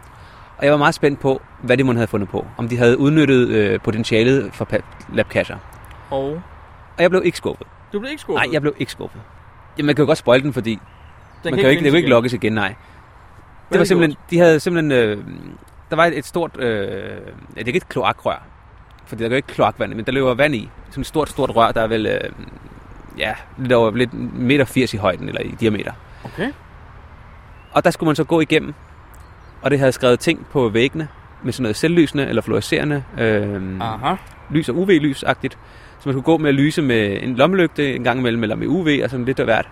Og jeg var meget spændt på, hvad de måtte havde fundet på. Om de havde udnyttet øh, potentialet for pa- labcacher.
Og
Og jeg blev ikke skuffet.
du blev ikke skuffet?
Nej, jeg blev ikke skuffet. Jamen, man kan jo godt spoil den, fordi den
Den
man kan jo ikke, det
findes
kan jo ikke
igen.
lokkes igen, nej. Det
Hvad
var
har de
simpelthen, de havde simpelthen, øh, der var et, et stort, øh, ja, det er ikke et kloakrør, for der er jo ikke kloakvand, men der løber vand i. Sådan et stort, stort rør, der er vel øh, ja, lidt over lidt meter 80 i højden, eller i diameter.
Okay.
Og der skulle man så gå igennem, og det havde skrevet ting på væggene med sådan noget selvlysende eller fluorescerende øh,
Aha.
lys og UV-lysagtigt. Så man skulle gå med at lyse med en lommelygte en gang imellem, eller med UV og sådan lidt af hvert.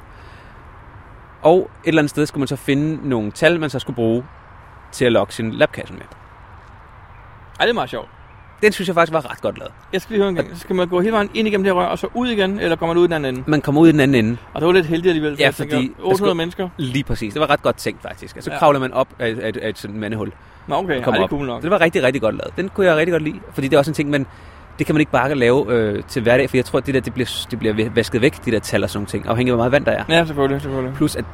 Og et eller andet sted skulle man så finde nogle tal, man så skulle bruge til at lokke sin labkasse med.
Ej, det er meget sjovt.
Den synes jeg faktisk var ret godt lavet.
Jeg skal lige høre en gang. Skal man gå hele vejen ind igennem det her rør, og så ud igen, eller kommer man ud den anden ende?
Man kommer ud i den anden ende.
Og det var lidt heldigt alligevel, for
Mm. Ja,
jeg tænker,
fordi der
800
skulle-
mennesker.
Lige præcis. Det var ret godt tænkt faktisk. Og så
Ja.
ja. kravler man op af, af, af et sådan mandehul.
Nå, okay. Ej,
kommer
det er
op.
cool nok.
Det var rigtig, rigtig godt lavet. Den kunne jeg rigtig godt lide, fordi det er også en ting, man, det kan man ikke bare lave øh, til hverdag, for jeg tror, at det der det bliver, det bliver vasket væk, de der tal og sådan nogle ting, afhængig af, hvor meget vand der er.
Ja, selvfølgelig, selvfølgelig.
Plus, at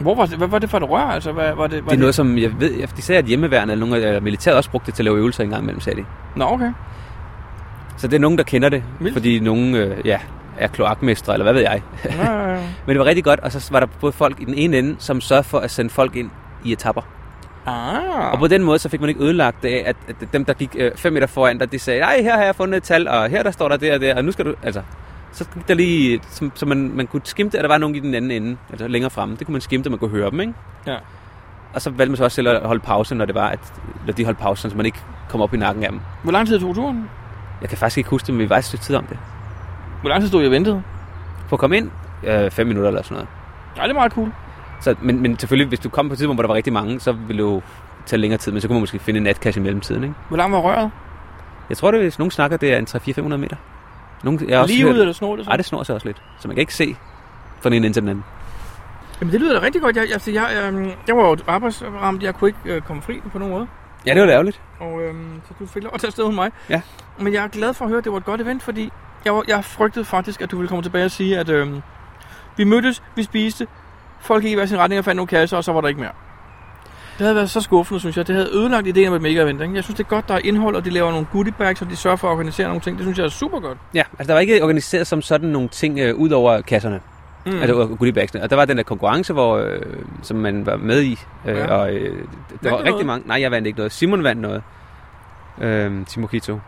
Hvor var det, hvad var det for et rør? Altså, hvad, var det, var
det er noget, som jeg ved, at de sagde, at hjemmeværende eller, nogle, af- eller militæret også brugte det til at lave øvelser en gang imellem, sagde de.
Nå, okay.
Så det er nogen, der kender det,
Vildt.
fordi nogen øh, ja, er kloakmestre, eller hvad ved jeg.
Ja, ja, ja.
Men det var rigtig godt, og så var der både folk i den ene ende, som sørgede for at sende folk ind i etapper.
Ah.
Og på den måde, så fik man ikke ødelagt det af, at, at dem, der gik 5 meter foran dig, de sagde, nej, her har jeg fundet et tal, og her der står der det og det, og nu skal du... Altså, så gik der lige... Så, så man, man kunne skimte, at der var nogen i den anden ende, altså længere fremme. Det kunne man skimte, man kunne høre dem, ikke?
Ja.
Og så valgte man så også selv at holde pause, når det var, at når de holdt pause, så man ikke kom op i nakken af dem.
Hvor lang tid tog turen?
Jeg kan faktisk ikke huske det, men vi var et stykke tid om det.
Hvor lang tid stod jeg og ventede?
På at komme ind, 5 minutter eller sådan noget.
Ej, det er meget cool.
Så, men, men selvfølgelig, hvis du kom på et tidspunkt, hvor der var rigtig mange, så ville det jo tage længere tid, men så kunne man måske finde en natkasse i mellemtiden, ikke?
Hvor langt var røret?
Jeg tror, det er, hvis nogen snakker, det er en 300-400 meter. Nogen, jeg har også
Lige
hørt-
ud eller snor det så?
Ej, det snor sig også lidt. Så man kan ikke se fra den ene ende til den anden.
Jamen, det lyder da rigtig godt. Jeg, altså, jeg, øhm, jeg var jo arbejdsramt. Jeg kunne ikke øh, komme fri på nogen måde.
Ja, det var da ærgerligt.
Og øhm, så du fik lov at tage afsted hos mig.
Ja.
Men jeg er glad for at høre, at det var et godt event, fordi jeg, var, jeg frygtede faktisk, at du ville komme tilbage og sige, at øhm, vi mødtes, vi spiste, folk gik i hver sin retning og fandt nogle kasser, og så var der ikke mere. Det havde været så skuffende, synes jeg. Det havde ødelagt ideen om et mega event. Ikke? Jeg synes, det er godt, der er indhold, og de laver nogle goodie bags, og de sørger for at organisere nogle ting. Det synes jeg er super godt.
Ja, altså der var ikke organiseret som sådan nogle ting øh, ud over kasserne, mm. altså øh, goodiebagsene. Og der var den der konkurrence, hvor, øh, som man var med i, øh,
Ja.
ja. og øh, der var
noget?
rigtig mange. Nej, jeg vandt ikke noget. Simon vandt noget. Øh, Timo Kito.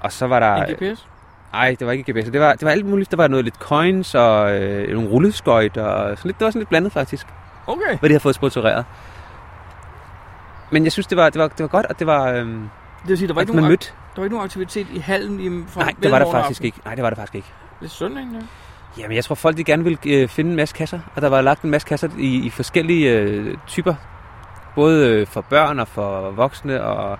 Og så var der...
En GPS.
Nej, det var ikke GPS. Det var, det var alt muligt. Der var noget lidt coins og øh, nogle rulleskøjt og sådan lidt. Det var sådan lidt blandet faktisk.
Okay.
hvad de har fået sponsoreret. Men jeg synes, det var, det var, det var godt, at det var, øhm,
Det vil sige, der var,
at
ikke
man
nogen, ak-
mødte.
der var ikke nogen aktivitet i hallen i fra
Nej, det var der
velmorgen
faktisk
aften.
ikke. Nej, det var der faktisk ikke.
Lidt synd, egentlig.
Jamen, jeg tror, folk de gerne ville øh, finde en masse kasser, og der var lagt en masse kasser i, i forskellige øh, typer. Både øh, for børn og for voksne. Og,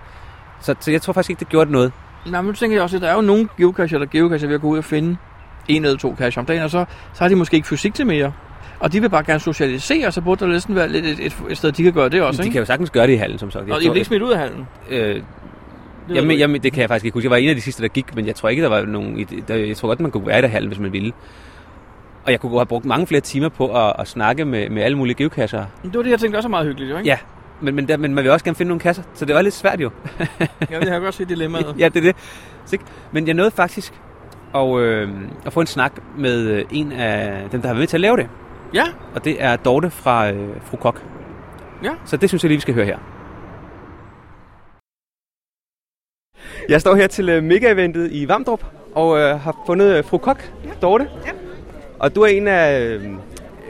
så, så jeg tror faktisk ikke, det gjorde noget.
Nej, men nu tænker jeg også, at der er jo nogle geocacher, der geocacher ved at gå ud og finde en eller to cacher om dagen, og så, så har de måske ikke fysik til mere. Og de vil bare gerne socialisere, så burde der næsten være lidt et, et, et sted, de kan gøre det
Men
også,
de
ikke?
kan jo sagtens gøre det i hallen, som sagt.
Og de bliver ikke smidt ud af hallen.
øh,
ved du
jamen,
ikke.
jamen, det kan jeg faktisk ikke huske. Jeg var en af de sidste, der gik, men jeg tror ikke, der var nogen... i det- Der, jeg tror godt, man kunne være i der hallen, hvis man ville. Og jeg kunne godt have brugt mange flere timer på at, at snakke med, med alle mulige geokasser.
Men det var det, jeg tænkte også er meget hyggeligt, jo, ikke?
Ja. Men, men, der, men man vil også gerne finde nogle kasser, så det var lidt svært jo.
[LAUGHS] Ja, jeg har godt set dilemmaet.
ja, det er det. Så, ikke? men jeg nåede faktisk at, øh, at få en snak med øh, en af dem, der har været med til at lave det.
Ja.
Og det er Dorte fra øh, Fru Kok.
Ja.
Så det synes jeg lige, vi skal høre her.
Jeg står her til øh, mega-eventet i Vamdrup og øh, har fundet øh, fru Kok, ja. Dorte. Ja. Og du er en af øh,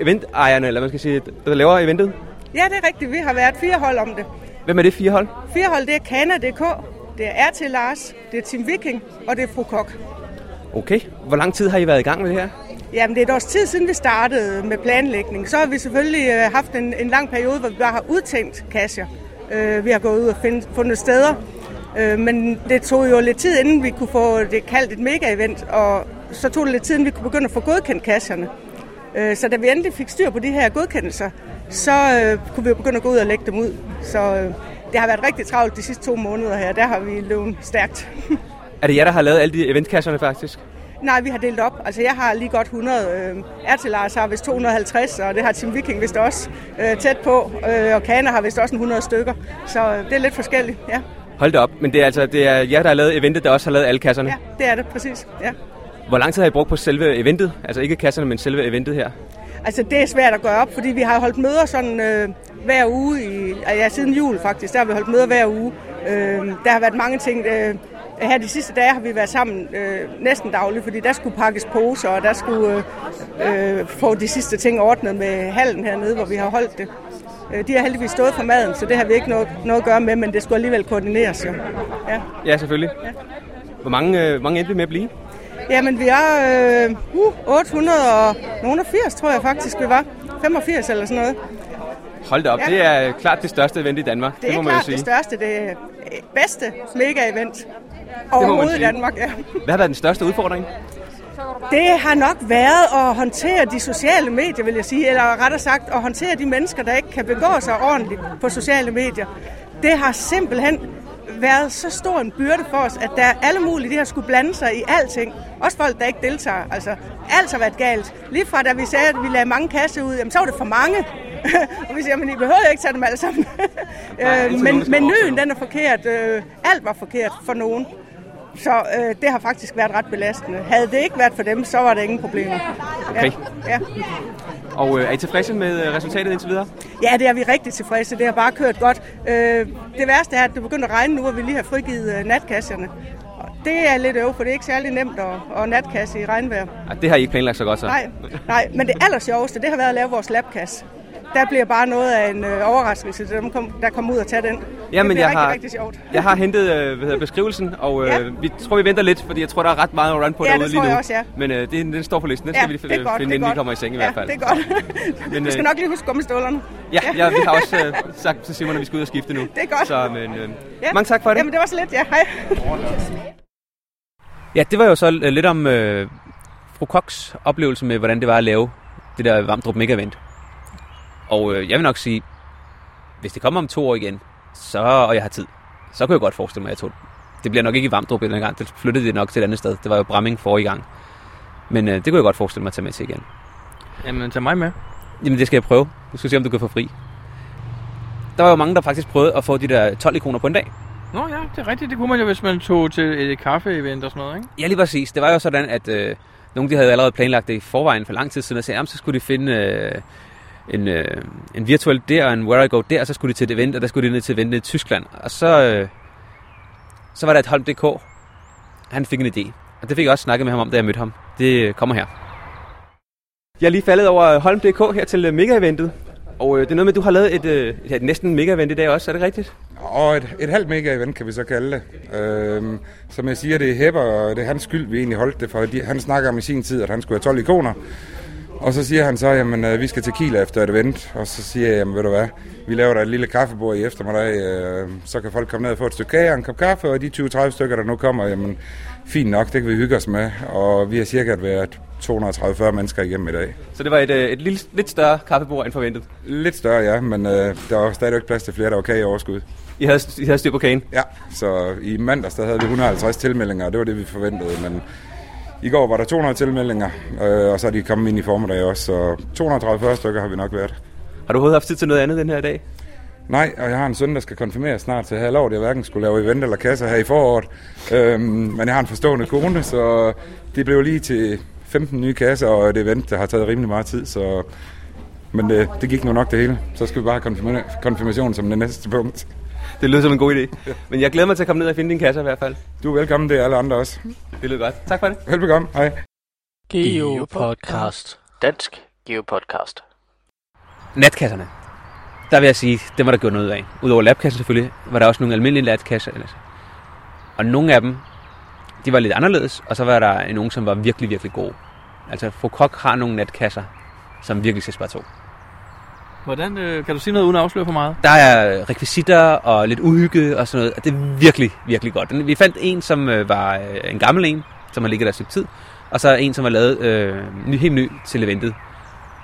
eventejerne, eller man skal sige, der laver eventet.
Ja, det er rigtigt. Vi har været fire hold om det.
Hvem er det fire hold?
Fire hold, det er Kana.dk, det er RT Lars, det er Team Viking og det er Fru Kok.
Okay. Hvor lang tid har I været i gang med det her?
Jamen, det er et års tid siden, vi startede med planlægning. Så har vi selvfølgelig øh, haft en, en lang periode, hvor vi bare har udtænkt kasser. Øh, vi har gået ud og find, fundet steder. Øh, men det tog jo lidt tid, inden vi kunne få det kaldt et mega-event. Og så tog det lidt tid, inden vi kunne begynde at få godkendt kasserne. Øh, så da vi endelig fik styr på de her godkendelser, så øh, kunne vi jo begynde at gå ud og lægge dem ud. Så øh, det har været rigtig travlt de sidste to måneder her. Der har vi løbet stærkt.
Er det jer, der har lavet alle de eventkasserne faktisk?
Nej, vi har delt op. Altså, jeg har lige godt 100. Øh, RT Lars har vist 250, og det har Team Viking vist også øh, tæt på. Øh, og Kana har vist også en 100 stykker. Så øh, det er lidt forskelligt, ja.
Hold da op, men det er altså det er jer, der har lavet eventet, der også har lavet alle kasserne.
Ja, det er det, præcis. Ja.
Hvor lang tid har I brugt på selve eventet? Altså ikke kasserne, men selve eventet her.
Altså, det er svært at gøre op, fordi vi har holdt møder sådan øh, hver uge. I, ja, siden jul faktisk, der har vi holdt møder hver uge. Øh, der har været mange ting. Øh, Her de sidste dage har vi været sammen øh, næsten dagligt, fordi der skulle pakkes poser, og der skulle øh, øh, få de sidste ting ordnet med hallen hernede, hvor vi har holdt det. Øh, De har heldigvis stået for maden, så det har vi ikke noget, noget at gøre med, men det skulle alligevel koordineres jo. Ja.
Ja, selvfølgelig. Ja. Hvor mange, øh, hvor mange endte vi med at blive?
Jamen, vi er øh, uh, 880, tror jeg faktisk, vi var. 85 eller sådan noget.
Hold da op,
Ja.
det er klart det største event i Danmark.
Det er
må man jo
klart
sige.
det største, det øh, bedste mega-event
må man
overhovedet i
sige.
Danmark. Ja.
Hvad har været den største udfordring?
Det har nok været at håndtere de sociale medier, vil jeg sige, eller rettere sagt at håndtere de mennesker, der ikke kan begå sig ordentligt på sociale medier. Det har simpelthen været så stor en byrde for os, at der er alle mulige, de har skulle blande sig i alting. Også folk, der ikke deltager. Altså, alt har været galt. Lige fra da vi sagde, at vi lagde mange kasser ud, jamen, så var det for mange. [LAUGHS] og vi siger, men I behøver ikke tage dem alle sammen. [LAUGHS]
altid
øh,
altså, nogen, der
men
skal
menuen,
overtage.
den er forkert. Øh, alt var forkert for nogen. Så øh, det har faktisk været ret belastende. Havde det ikke været for dem, så var der ingen problemer.
Okay.
Ja, ja.
Og øh, er I tilfredse med øh, resultatet indtil videre?
ja det er vi rigtig tilfredse. Det har bare kørt godt. Øh, det værste er, at det begynder at regne nu, og vi lige har frigivet øh, natkasserne. Og Det er lidt øv, for det er ikke særlig nemt at, at natkasse i regnvejr.
Ej, det har I ikke planlagt så godt så.
Nej, nej, men det aller sjoveste, det har været at lave vores labkasse. Der bliver bare noget af en øh, overraskelse til dem, kom- der kommer ud og tager den. det
Jamen,
bliver
jeg
rigtig,
har-
rigtig sjovt.
Jeg har hentet øh, hvad hedder, beskrivelsen, og øh,
Ja.
vi tror, vi venter lidt, fordi jeg tror, der er ret meget at run på
Ja, det
derude lige
tror
nu.
jeg også, ja.
Men øh, det, den står på listen. Den skal vi lige
det er
finde,
godt, det er
inden vi
godt.
kommer i seng i
ja,
hvert fald.
[LAUGHS] det er godt.
Men,
Men, du skal
øh,
nok lige huske gummistøvlerne.
Ja, ja,
[LAUGHS]
vi har også øh, sagt til Simon, at vi skal ud og skifte nu. Det
er godt.
Så, men, øh, ja. Mange tak for det.
Jamen, det var så lidt, ja. Hej.
Ja, det var jo så øh, lidt om øh, fru Koks oplevelse med, hvordan det var at lave det der Vamdrup Mega Event. Og øh, jeg vil nok sige, hvis det kommer om to år igen, så, og jeg har tid, så kunne jeg godt forestille mig, at jeg tog det bliver nok ikke i Vamdrup den gang. Det flyttede det nok til et andet sted. Det var jo Bramming forrige gang. Men øh, det kunne jeg godt forestille mig at tage med til igen.
Jamen, tag mig med.
Jamen, det skal jeg prøve. Du skal se, om du kan få fri. Der var jo mange, der faktisk prøvede at få de der 12 ikoner på en dag.
Nå ja, det er rigtigt. Det kunne man jo, hvis man tog til et kaffeevent og sådan noget, ikke?
Ja, lige præcis. Det var jo sådan, at øh, nogle de havde allerede planlagt det i forvejen for lang tid siden, og sagde, "Jamen, så skulle de finde øh, en, øh, en virtuel der og en where I go der, og så skulle de til et event, og der skulle de ned til et event ned i Tyskland. Og så, øh, så var der et Holm.dk. Han fik en idé, og det fik jeg også snakket med ham om, da jeg mødte ham. Det øh, kommer her.
Jeg er lige faldet over Holm.dk her til øh, mega-eventet. Og øh, det er noget med, at du har lavet et, øh, ja, et næsten mega-event i dag også, er det rigtigt?
Og et, et halvt mega-event, kan vi så kalde det. Øhm, som jeg siger, det er Hepper, og det er hans skyld, vi egentlig holdt det, for de, han snakker om i sin tid, at han skulle have 12 ikoner. Og så siger han så, jamen øh, vi skal til Kiel efter et event, og så siger jeg, jamen ved du hvad, vi laver der et lille kaffebord i eftermiddag, øh, så kan folk komme ned og få et stykke kage og en kop kaffe, og de 20-30 stykker, der nu kommer, jamen fint nok, det kan vi hygge os med, og vi har cirka været 230-40 mennesker igennem i dag.
Så det var et, øh, et lille, lidt større kaffebord end forventet.
Lidt større, ja, men øh, der var stadigvæk plads til flere, der var kage i overskud.
I havde, I havde styr på kagen.
Ja, så i mandags der havde vi 150 tilmeldinger, og det var det, vi forventede, men i går var der 200 tilmeldinger, øh, og så er de kommet ind i formiddag også, så 230 stykker har vi nok været.
Har du overhovedet haft tid til noget andet den her dag?
Nej, og jeg har en søn, der skal konfirmere snart, så jeg havde lovet, at jeg hverken skulle lave event eller kasser her i foråret. Øhm, men jeg har en forstående kone, så det blev lige til 15 nye kasser og et event, der har taget rimelig meget tid, så... Men det, det gik nu nok det hele. Så skal vi bare have konfirma- konfirmation som det næste punkt.
Det lød som en god idé. Men jeg glæder mig til at komme ned og finde din kasse i hvert fald.
Du er velkommen, det er alle andre også.
Det lød godt. Tak for det.
Velbekomme, hej.
Geo Podcast. Dansk Geo Podcast.
Natkasserne. Der vil jeg sige, det var der gjort noget ud af. Udover labkassen selvfølgelig, var der også nogle almindelige latkasser ellers. Og nogle af dem, de var lidt anderledes, og så var der nogle, som var virkelig, virkelig gode. Altså, fru Kok har nogle natkasser, som virkelig skal spare to.
Hvordan, øh, kan du sige noget uden at afsløre for meget?
Der er rekvisitter og lidt uhygge og sådan noget, og det er virkelig, virkelig godt. Den- Vi fandt en, som øh, var øh, en gammel en, som har ligget der et stykke tid, og så en, som var lavet øh, ny, helt ny til eventet.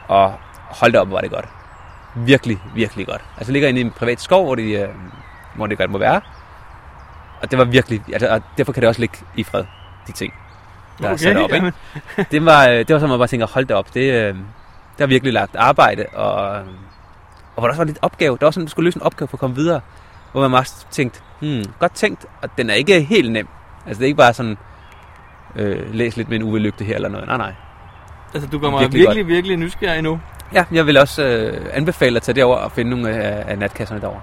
Og hold da op, hvor var det godt. Virkelig, virkelig godt. Altså det ligger inde i en privat skov, hvor det, øh, hvor det godt må være. Og det var virkelig, altså, og derfor kan det også ligge i fred, de ting, der er sat op. Ikke?
jamen,
[LAUGHS] det var, øh, det var sådan, hvor jeg bare tænker, hold da op, det, øh, der er virkelig lagt arbejde, og, øh, og hvor der også var lidt opgave. Der var sådan, du skulle løse en opgave for at komme videre, hvor man også tænkte, hmm, godt tænkt, og den er ikke helt nem. Altså det er ikke bare sådan, øh, læs lidt med en uvelygte her eller noget. Nej, nej.
altså, du gør mig
Virkelig
virkelig,
godt.
virkelig, virkelig nysgerrig nu.
Ja, jeg vil også øh, anbefale at tage derover og finde nogle af, af natkasserne derover.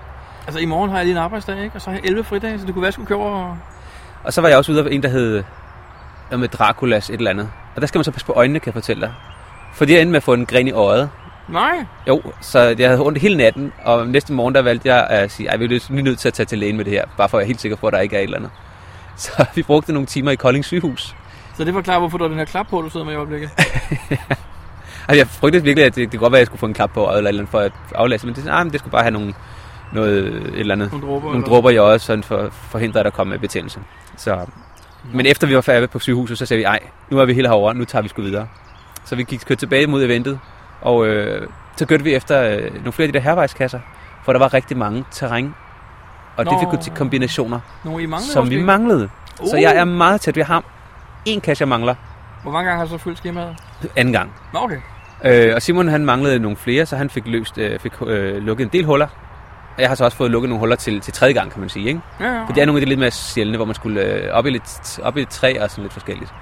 Altså, i morgen har jeg lige en arbejdsdag, ikke? Og så har jeg 11 fridage, så det kunne være, at jeg skulle køre over og
Og så var jeg også ude af en, der hed noget med Draculas et eller andet. Og der skal man så passe på øjnene, kan jeg fortælle dig. Fordi jeg endte med at få en grin i øjet.
Nej.
Jo, så jeg havde ondt hele natten, og næste morgen der valgte jeg at sige, at vi er nødt- vi er nødt til at tage til lægen med det her, bare for at være helt sikker på, at der ikke er et eller andet. [LAUGHS] Så vi brugte nogle timer i Kolding sygehus.
Så det forklarer, hvorfor du har den her klap på, du sidder med i
[LAUGHS]
øjeblikket.
Altså, jeg frygtede virkelig, at det, det kunne godt være, at jeg skulle få en klap på øjet eller et eller andet for at aflæse, men det, er sådan, ah, men det skulle bare have nogle, noget, et eller andet.
Nogle dråber.
Nogle
eller-
dråber i øjet, sådan for forhindrer, at der kommer betændelse. Så, men efter vi var færdige på sygehuset, så sagde vi, nej, nu er vi helt herovre, nu tager vi sgu videre. Så vi gik kørte tilbage mod eventet, og øh, så kørte vi efter øh, nogle flere af de der hervejskasser, for der var rigtig mange terræn. Og det
Nå.
fik jo til kombinationer,
Nogle, I manglede
som vi
måske?
manglede.
Uh,
Så jeg er meget tæt. Vi har en kasse, jeg mangler
Hvor mange gange har du så fyldt skemaet?
anden gang.
Nå, okay.
Øh, og Simon han manglede nogle flere, så han fik, løst, øh, fik øh, lukket en del huller. Og jeg har så også fået lukket nogle huller til, til tredje gang, kan man sige. Ikke?
Ja, ja.
For det er nogle af de lidt mere sjældne, hvor man skulle øh, op, i lidt, op i et træ og sådan lidt forskelligt.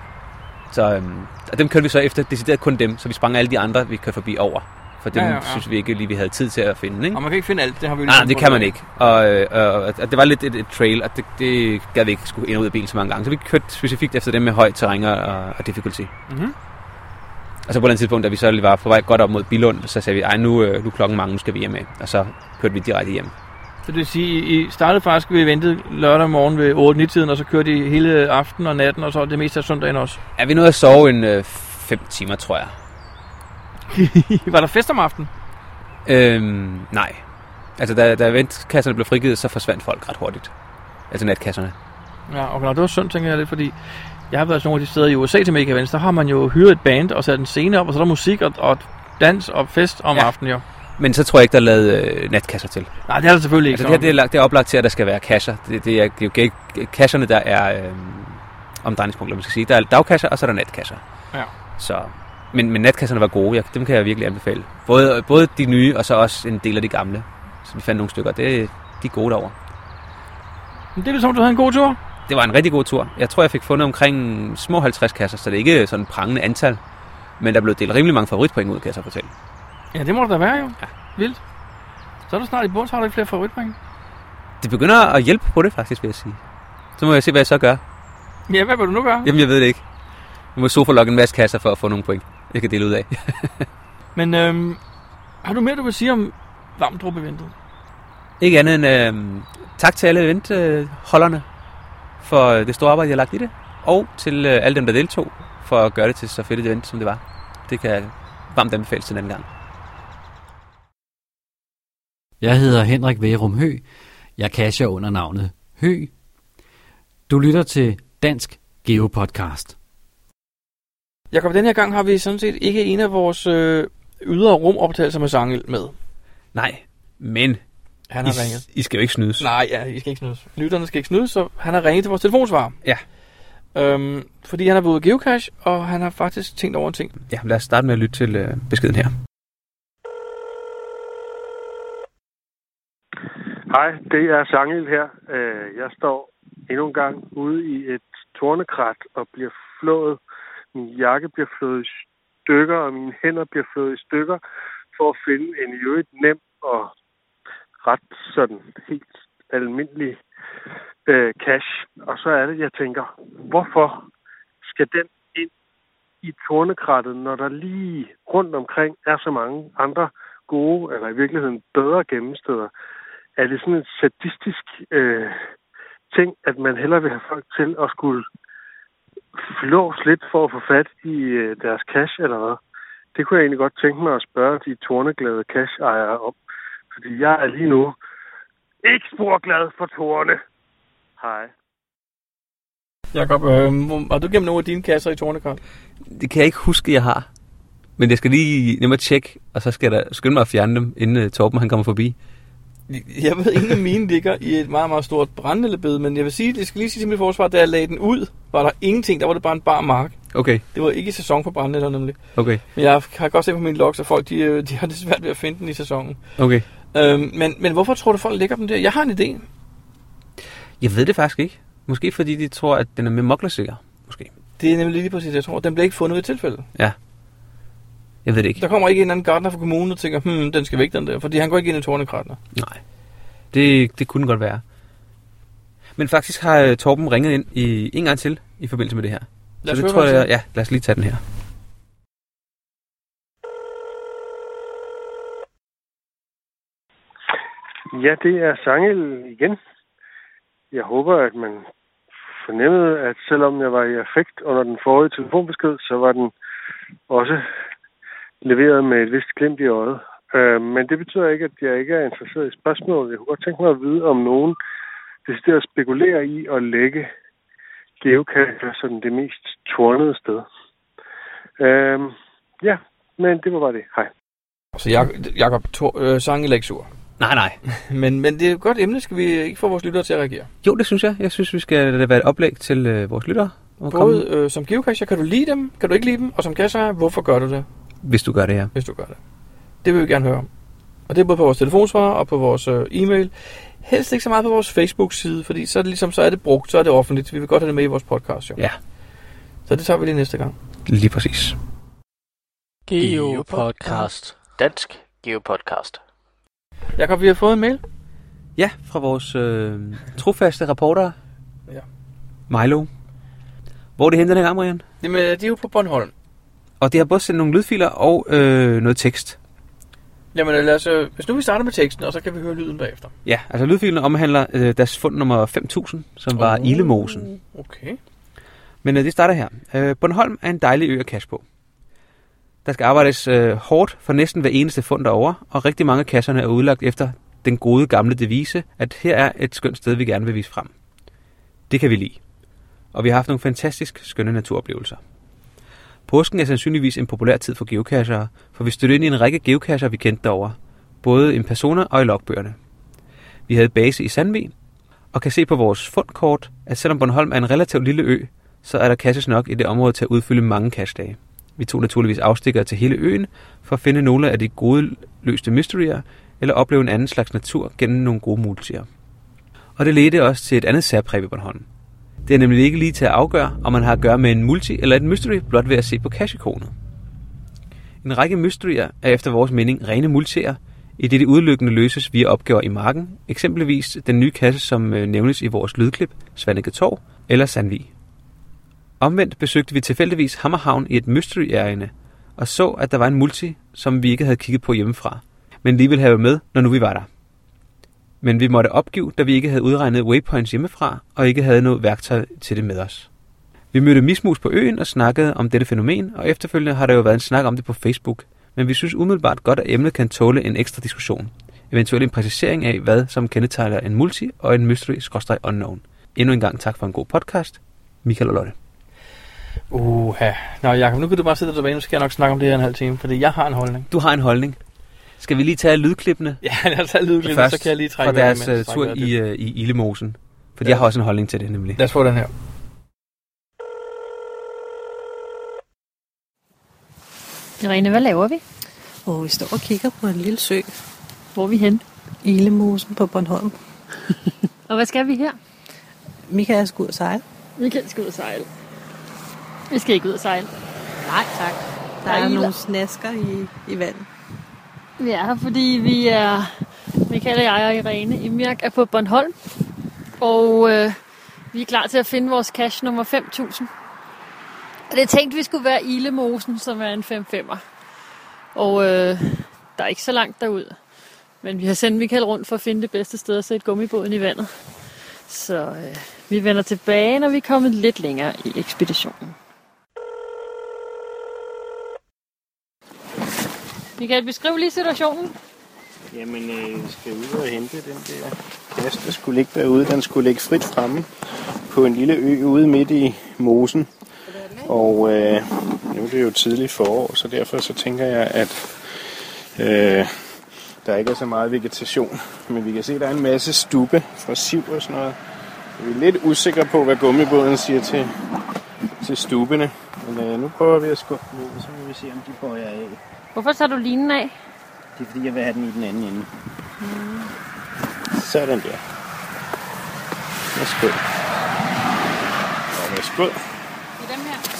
Så øhm, og dem kørte vi så efter, decideret kun dem, så vi sprang alle de andre, vi kørte forbi over. For dem ja, ja, ja. synes vi ikke lige, vi havde tid til at finde. Ikke?
Og man kan ikke finde alt, det har vi jo
Nej,
ligesom
det
fundet
kan man
ud af.
ikke. Og, øh, og, og det var lidt et, et trail, og det, det gad vi ikke skulle ind og ud af bilen så mange gange. Så vi kørte specifikt efter dem med høj terræn og, og difficulty.
Mhm.
Og så på et eller andet tidspunkt, da vi så lige var på vej godt op mod Bilund, så sagde vi, ej, nu, øh, nu er klokken mange, nu skal vi hjem af. Og så kørte vi direkte hjem.
Så det vil sige, I startede faktisk ved ventet lørdag morgen ved 8-9-tiden, og så kørte I hele aften og natten, og så det meste af søndagen også.
Er vi nået at sove en 5 fem timer, tror jeg?
[LAUGHS] var der fest om aftenen?
Øhm, nej. Altså, da, da ventkasserne blev frigivet, så forsvandt folk ret hurtigt. Altså natkasserne.
Ja, og når det var synd, tænker jeg lidt, fordi jeg har været sådan nogle af de steder i USA til Mega Events, der har man jo hyret et band og sat en scene op, og så er der musik og, og dans og fest om
Ja.
ja. aftenen jo.
Men så tror jeg ikke, der er lavet øh, natkasser til.
Nej, det er der selvfølgelig ikke.
Altså, det her det er,
så.
lagt, det er oplagt til, at der skal være kasser. Det, det, er, det er jo ikke kasserne, der er øh, omdrejningspunkter, man skal sige. Der er dagkasser, og så er der natkasser.
Ja.
Så, men, men natkasserne var gode. Jeg, dem kan jeg virkelig anbefale. Både, både de nye, og så også en del af de gamle. Så vi fandt nogle stykker. Det, de er gode derovre.
Men det er ligesom, du havde en god tur.
Det var en rigtig god tur. Jeg tror, jeg fik fundet omkring små 50 kasser, så det er ikke sådan et prangende antal. Men der blev delt rimelig mange favoritpoint ud, kan jeg så fortælle.
Ja, det må det da være jo. Ja. Vildt. Så er du snart i bund, så har du ikke flere favoritpoint.
Det begynder at hjælpe på det, faktisk, vil jeg sige. Så må jeg se, hvad jeg så gør.
Ja, hvad vil du nu gøre?
Jamen, jeg ved det ikke. Jeg må sofa lokke en masse kasser for at få nogle point. Jeg kan dele ud af.
[LAUGHS] Men øhm, har du mere, du vil sige om Vamdrup-eventet?
Ikke andet end øh, tak til alle eventholderne for øh, det store arbejde, jeg har lagt i det. Og til øh, alle dem, der deltog for at gøre det til så fedt et event, som det var. Det kan varmt anbefales til en anden gang.
Jeg hedder Henrik Værum Hø. Jeg casher under navnet Hø. Du lytter til Dansk Geo Podcast.
Jakob, den her gang har vi sådan set ikke en af vores øh, ydre rumoptagelser med Sangel med.
Nej, men
Han
I, I skal jo ikke snydes.
Nej, ja, I skal ikke snydes. Lytterne skal ikke snydes, så han har ringet til vores telefonsvarer.
Ja.
Øhm, fordi han har været ude at geocache, og han har faktisk tænkt over en ting.
Ja, lad os starte med at lytte til øh, beskeden her.
Hej, det er Sangel her. Øh, Jeg står endnu en gang ude i et tornekrat og bliver flået. Min jakke bliver flået i stykker, og mine hænder bliver flået i stykker for at finde en i øvrigt nem og ret sådan helt almindelig øh, cash. Og så er det, jeg tænker, hvorfor skal den ind i tornekrattet, når der lige rundt omkring er så mange andre gode, eller i virkeligheden bedre gemmesteder, er det sådan en sadistisk øh, ting, at man hellere vil have folk til at skulle flås lidt for at få fat i øh, deres cash eller hvad? Det kunne jeg egentlig godt tænke mig at spørge de torneglade cash-ejere om. Fordi jeg er lige nu ikke spor glad for torne. Hej.
Jakob, øh, har du gennem nogle af dine kasser i Tornekart?
Det kan jeg ikke huske, jeg har. Men jeg skal lige nemmere tjekke, og så skal jeg da skynde mig at fjerne dem, inden øh, Torben han kommer forbi.
Jeg ved, ingen af mine ligger i et meget, meget stort brændellebed, men jeg vil sige, jeg skal lige sige til mit forsvar, da jeg lagde den ud, var der ingenting. Der var det bare en bar mark.
Okay,
Det var ikke i sæson for brændeller nemlig.
okay,
Men jeg har godt set på mine logs, at folk de, øh, de har det svært ved at finde den i sæsonen.
okay.
Øhm, men, men hvorfor tror du, folk lægger dem der? Jeg har en idé.
Jeg ved det faktisk ikke. Måske fordi de tror, at den er mere moklersikker. Måske.
Det er nemlig lige præcis, det, jeg tror. Den bliver ikke fundet ved et tilfælde.
Jeg ved det ikke.
Der kommer ikke en anden gartner fra kommunen og tænker, hmm, den skal væk, den der. Fordi han går ikke ind i tornekratner.
Nej. Det, det kunne godt være. Men faktisk har øh, Torben ringet ind i, en gang til i forbindelse med det her.
Lad os
så
høre,
det tror
hvad han
jeg, ja, lad os lige tage den her.
Ja, det er Sangel igen. Jeg håber, at man fornemmede, at selvom jeg var i affekt under den forrige telefonbesked, så var den også leveret med et vist glimt i øjet. Øh, men det betyder ikke, at jeg ikke er interesseret i spørgsmål. Jeg kunne godt tænke mig at vide, om nogen deciderer at spekulere i at lægge geocacher som det mest tornede sted. Øh, ja, men det var bare det. Hej.
Så Jak- Jakob Tor- øh, Sange er ikke sur.
Nej, nej.
[LAUGHS] Men, men det er et godt emne, skal vi ikke få vores lyttere til at reagere.
Jo, det synes jeg. Jeg synes, vi skal lade det være et oplæg til øh, vores lyttere. Og komme,
Både øh, som geocacher, kan du lide dem, kan du ikke lide dem, og som cacher, hvorfor gør du det,
hvis du gør det her.
hvis du gør det? Det vil vi gerne høre om. Og det er både på vores telefonsvarer og på vores øh, e-mail. Helst ikke så meget på vores Facebook-side, fordi så er det, ligesom, så er det brugt, så er det offentligt. Vi vil godt have det med i vores podcast, jo.
Ja.
Så det tager vi lige næste gang.
Lige præcis.
Geo Podcast. Dansk Geo Podcast.
Jakob, vi har fået en mail.
Ja, fra vores øh, trofaste reporter.
Ja.
Milo. Hvor er det henne den her gang, Marianne?
Jamen, det er jo på Bornholm.
Og det har både sendt nogle lydfiler og øh, noget tekst.
Jamen, lad os, øh, hvis nu vi starter med teksten, og så kan vi høre lyden bagefter.
Ja, altså lydfilen omhandler øh, deres fund nummer 5000, som var
Oh.
oh. Ilemosen.
Okay.
Men øh, det starter her. Øh, Bornholm er en dejlig ø at cash på. Der skal arbejdes øh, hårdt for næsten hver eneste fund derovre, og rigtig mange af kasserne er udlagt efter den gode gamle devise, at her er et skønt sted, vi gerne vil vise frem. Det kan vi lide. Og vi har haft nogle fantastisk skønne naturoplevelser. Påsken er sandsynligvis en populær tid for geocachere, for vi stødte ind i en række geocacher, vi kendte derovre, både i persona og i logbøgerne. Vi havde base i Sandvig, og kan se på vores fundkort, at selvom Bornholm er en relativt lille ø, så er der caches nok i det område til at udfylde mange cashdage. Vi tog naturligvis afstikker til hele øen for at finde nogle af de gode løste mysterier, eller opleve en anden slags natur gennem nogle gode multier. Og det ledte os til et andet særpræg ved Bornholm. Det er nemlig ikke lige til at afgøre, om man har at gøre med en multi eller et mystery, blot ved at se på cash-ikonet. En række mysterier er efter vores mening rene multier, i det de udelukkende løses via opgaver i marken, eksempelvis den nye kasse, som øh, nævnes i vores lydklip, Svanike Torv eller Sandvig. Omvendt besøgte vi tilfældigvis Hammerhavn i et mystery ærinde og så, at der var en multi, som vi ikke havde kigget på hjemmefra, men lige ville have med, når nu vi var der. Men vi måtte opgive, da vi ikke havde udregnet waypoints hjemmefra, og ikke havde noget værktøj til det med os. Vi mødte mismus på øen og snakkede om dette fænomen, og efterfølgende har der jo været en snak om det på Facebook, men vi synes umiddelbart godt, at emnet kan tåle en ekstra diskussion. Eventuelt en præcisering af, hvad som kendetegner en multi og en mystery-unknown. Endnu en gang tak for en god podcast. Michael og Lotte.
Uha. Nå, Jacob, nu kan du bare sidde tilbage. Nu skal jeg nok snakke om det her en halv time, fordi jeg har en holdning.
Du har en holdning. Skal vi lige tage lydklippene
Ja, lad os tage lydklippet,
først
så kan jeg lige
fra
trække vejret,
deres
mens jeg
øh, tur
trækker
i, øh, i Illemosen? Fordi
Ja.
ja. jeg har også en holdning til det nemlig.
Lad os få den her.
Irene, hvad laver vi?
Og vi står og kigger på en lille sø,
Hvor er vi hen?
Ilemosen på Bornholm.
Og hvad skal vi her?
Michael skal ud og sejle.
Vi kan skal ud og sejle. Vi skal ikke ud og sejle.
Nej, tak. Der
Der er
er
iler.
nogle snasker i, i vandet.
Vi er her, fordi vi er, Michael og jeg og Irene Imirk er på Bornholm. Og øh, vi er klar til at finde vores cash nummer 5000. Og det tænkte vi skulle være Ilemosen, som er en 55'er. Og øh, der er ikke så langt derud. Men vi har sendt Michael rundt for at finde det bedste sted at sætte gummibåden i vandet. Så øh, vi vender tilbage, når vi er kommet lidt længere i ekspeditionen. Michael, beskriv lige situationen.
Jamen, øh, vi skal ud og hente den der kasse, der skulle ligge derude. Den skulle ligge frit fremme på en lille ø ude midt i mosen. Og øh, nu er det jo tidligt forår, så derfor så tænker jeg, at øh, der ikke er så meget vegetation. Men vi kan se, at der er en masse stube fra siv og sådan noget. Vi er lidt usikre på, hvad gummibåden siger til, til stubene. Men øh, nu prøver vi at skubbe den ud, og så må vi se, om de bøjer af.
Hvorfor tager du linen af?
Det er fordi, jeg vil have den i den anden ende. Mm. Sådan der. Værsgo. Og værsgo.
Med dem her.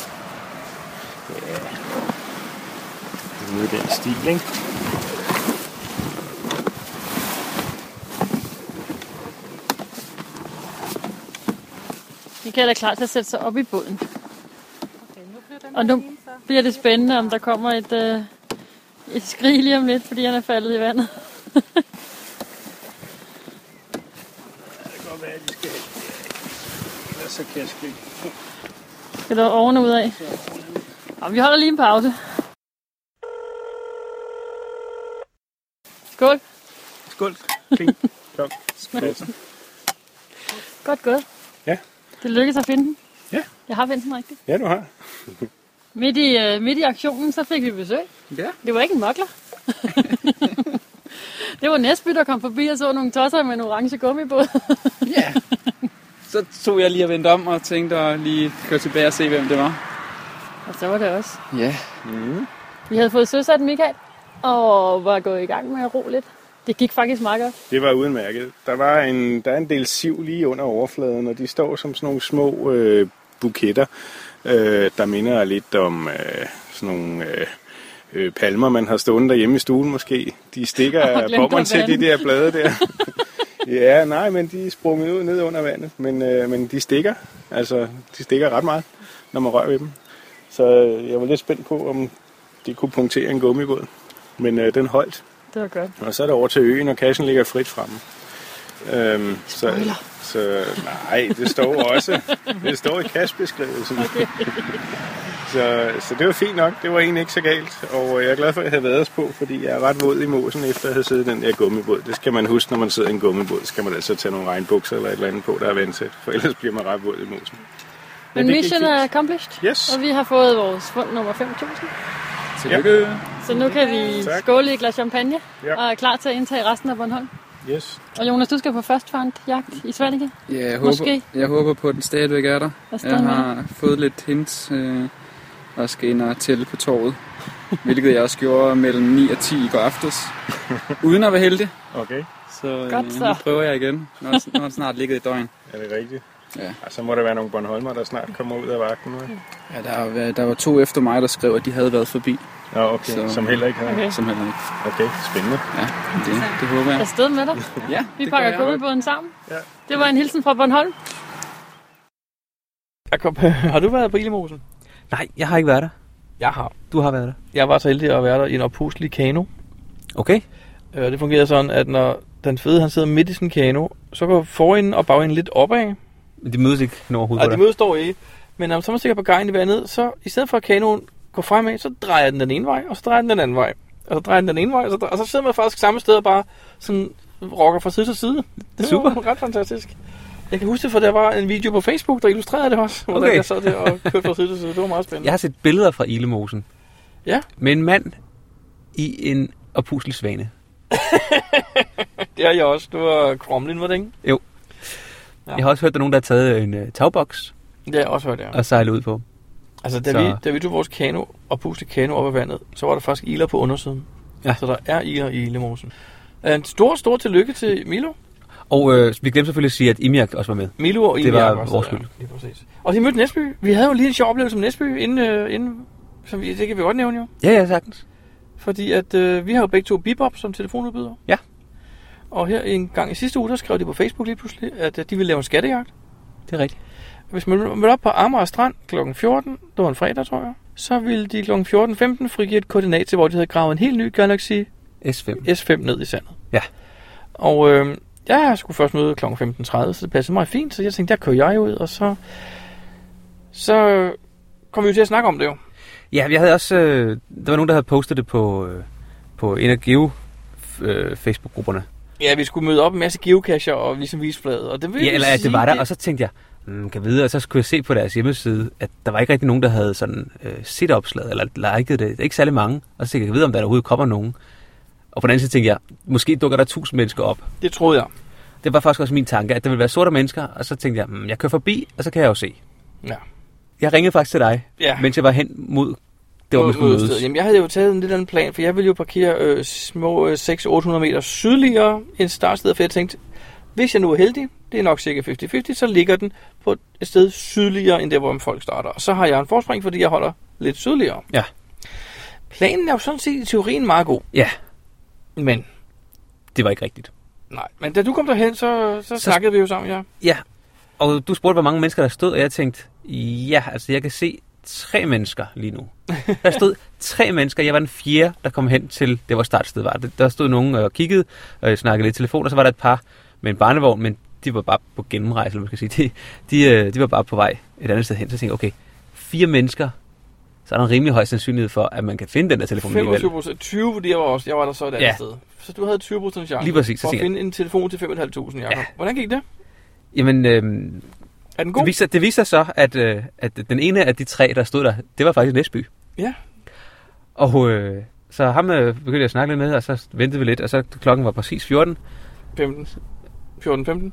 Nu er den stil, ikke?
Michael er klar til at sætte sig op i båden. Og nu bliver det spændende, om der kommer et, øh, et skrig lige om lidt, fordi han er faldet i vandet. [LAUGHS]
godt være, at de skal Ellers så kan jeg sgu ikke.
Skal der oven og ud af? Nå, vi holder lige en pause. Skål.
Skål. Klink. Kom.
[LAUGHS] Godt gået.
Ja.
Det lykkedes at finde den.
Ja.
Jeg har vendt den rigtigt.
Ja, du har.
Midt i, øh, midt i aktionen, så fik vi besøg.
Ja.
Det var ikke en mokler. [LAUGHS] det var Næsby, der kom forbi og så nogle tosser med en orange gummibåd.
Så tog jeg lige at vente om og tænkte at lige køre tilbage og se, hvem det var.
og så var det også.
Ja. Mm.
Vi havde fået søsat Michael, og var gået i gang med at ro lidt. Det gik faktisk meget godt.
Det var udmærket. Der, var en, der er en del siv lige under overfladen, og de står som sådan nogle små øh, buketter, øh, der minder lidt om øh, sådan nogle øh, øh, palmer, man har stående derhjemme i stuen måske. De stikker
[LAUGHS] Og
af
glemt at
bommeren til de
vande.
der blade
[LAUGHS]
der. ja, nej, men de er sprunget ud ned under vandet, men, øh, men de stikker. Altså, de stikker ret meget, når man rører ved dem. Så øh, jeg var lidt spændt på, om de kunne punktere en gummibåd. Men øh, den holdt.
Det var godt.
Og så er det over til øen, og kassen ligger frit fremme. Øhm, så, så nej, det står også. det står i kastbeskrivelsen. Okay. så, så det var fint nok. Det var egentlig ikke så galt. Og øh, jeg er glad for, at jeg havde været os på, fordi jeg er ret våd i mosen, efter at have siddet i den der gummibåd. Det skal man huske, når man sidder i en gummibåd. Så skal man altså tage nogle regnbukser eller et eller andet på, der er vandsæt. For ellers bliver man ret våd i mosen.
Men,
det
Men
gik
mission
fint.
er accomplished.
Yes.
Og vi har fået vores fund nummer 5.000.
Tillykke.
Så nu kan vi
Tak.
skåle i et glas champagne
Ja.
og er klar til at indtage resten af Bornholm.
Yes.
Og Jonas, du skal på førstfangtjagt i Svanike.
Ja, jeg
Måske.
håber, jeg håber på, at den stadigvæk er der.
Og stadigvæk.
Jeg har fået lidt hints øh, og skal ind og tælle på torvet. hvilket jeg også gjorde mellem 9 og 10 i går aftes. Uden at være heldig.
Okay.
Så, øh,
Godt så.
nu prøver jeg igen, når, når den snart ligger i døgn.
Er det rigtigt?
Ja.
Og så må der være nogle Bornholmer, der snart kommer ud af vagten nu. ikke?
Ja, der, var, der var to efter mig, der skrev, at de havde været forbi.
Ja, okay. Som heller ikke havde. Okay.
Som heller ikke.
Okay, spændende.
Ja, det, det håber jeg.
Afsted med dig.
ja,
vi
det
pakker
gør jeg.
gummibåden sammen. Ja. Det var en hilsen fra Bornholm.
Jakob, [LAUGHS] har du været på Ilemosen?
Nej, jeg har ikke været der.
Jeg har.
Du har været der?
Jeg var så heldig at være der i en oppustelig kano.
Okay.
Øh, det fungerede sådan, at når den fede han sidder midt i sin kano, så går forenden og bagenden lidt opad.
Men de mødes ikke når overhovedet.
Og de mødes dog ikke. Men når man så stikker på gangen i vandet, så i stedet for at kanoen går fremad, så drejer den den ene vej, og så drejer den den anden vej. Og så drejer den den ene vej, og så, drej- og så sidder man faktisk samme sted og bare sådan rocker fra side til side. Det Super. var ret fantastisk. Jeg kan huske det, for der var en video på Facebook, der illustrerede det også. Hvordan
Okay.
jeg sad der og kørte fra side til side. Det var meget spændende.
Jeg har set billeder fra Ilemosen.
Ja.
Med en mand i en oppuslig svane.
Det har jeg også. Det var Kromlin, var det ikke?
Jo.
Ja.
Ja. Jeg har også hørt, at der er nogen, der har taget en uh, tagboks
Det har jeg også hørt, ja.
og sejlet ud på.
Altså, da,
Så-
vi, da vi tog vores kano og pustede kano op af vandet, så var der faktisk iler på undersiden.
Ja.
Så der er iler i Ilemosen. Øh, En stor, stor tillykke til Milo.
Og øh, vi glemte selvfølgelig at sige, at Imiak også var med.
Milo og
Det var
Imiak også,
vores
ja.
skyld.
Lige præcis. Og de mødte Næsby. Vi havde jo lige en sjov oplevelse med Næsby, inden, øh, inden som vi, det kan vi godt nævne jo.
Ja, ja, sagtens.
Fordi at øh, vi har jo begge to Bebop som telefonudbyder.
Ja.
Og her en gang i sidste uge, der skrev de på Facebook lige pludselig, at øh, de ville lave en skattejagt.
Det er rigtigt.
Hvis man mødte op på Amager Strand kl. 14, det var en fredag, tror jeg, så ville de kl. 14.15 frigive et koordinat til, hvor de havde gravet en helt ny Galaxy
S5.
S5 ned i sandet.
Ja.
Og øh, jeg skulle først møde kl. 15.30, så det passede mig fint, så jeg tænkte, der kører jeg ud, og så, så kom vi jo til at snakke om det jo.
Ja, jeg havde også... Øh, der var nogen, der havde postet det på, øh, på en af Geo øh, Facebook-grupperne.
Ja, vi skulle møde op med en masse geocacher og ligesom vise flaget. Og det vil
Ja,
jeg
eller at
sige,
det var der, og så tænkte jeg, mm, kan vide, og så skulle jeg se på deres hjemmeside, at der var ikke rigtig nogen, der havde sådan øh, set opslaget, eller liket det. Ikke særlig mange. Og så tænkte jeg, kan vide, om der overhovedet kommer nogen. Og på den anden side tænkte jeg, måske dukker der tusind mennesker op.
Det troede jeg.
Det var faktisk også min tanke, at der ville være sorte mennesker, og så tænkte jeg, mm, jeg kører forbi, og så kan jeg jo se.
Ja.
Jeg ringede faktisk til dig,
Ja.
mens jeg var hen mod det, hvor vi skulle
mod
mødes.
stedet. Jamen, jeg havde jo taget en lidt anden plan, for jeg ville jo parkere øh, små øh, 600-800 meter sydligere end startstedet, for jeg tænkte, hvis jeg nu er heldig, det er nok cirka 50-50, så ligger den på et sted sydligere end der, hvor folk starter. Og så har jeg en forspring, fordi jeg holder lidt sydligere.
Ja.
Planen er jo sådan set i teorien meget god.
Ja.
Men?
Det var ikke rigtigt.
Nej, men da du kom derhen, så, så, så snakkede vi jo sammen, ja.
Ja, Og du spurgte, hvor mange mennesker der stod, og jeg tænkte, ja, altså jeg kan se tre mennesker lige [LAUGHS] nu. Der stod tre mennesker, jeg var den fjerde, der kom hen til, det var startsted var. Der- Der stod nogen og kiggede, og snakkede lidt i telefon, og så var der et par med en barnevogn, men de var bare på gennemrejse, eller hvad man skal sige. De, de, øh, de var bare på vej et andet sted hen, så tænkte jeg, okay, fire mennesker, så er der en rimelig høj sandsynlighed for, at man kan finde den der telefon alligevel.
25 procent. 20 fordi jeg var også. Jeg var der så et andet
Ja.
sted. Så du havde 20 procent chance
Lige præcis, så
for at
tænker jeg-
finde en telefon til 5.500, Jacob. Ja. Hvordan gik det?
Jamen, øhm,
Er den god?
Det viser, det viser sig så, at, øh, at den ene af de tre, der stod der, det var faktisk Næsby.
Ja.
Og øh, så ham øh, begyndte jeg at snakke lidt med, og så ventede vi lidt, og så klokken var præcis 14.
15. 14, 15.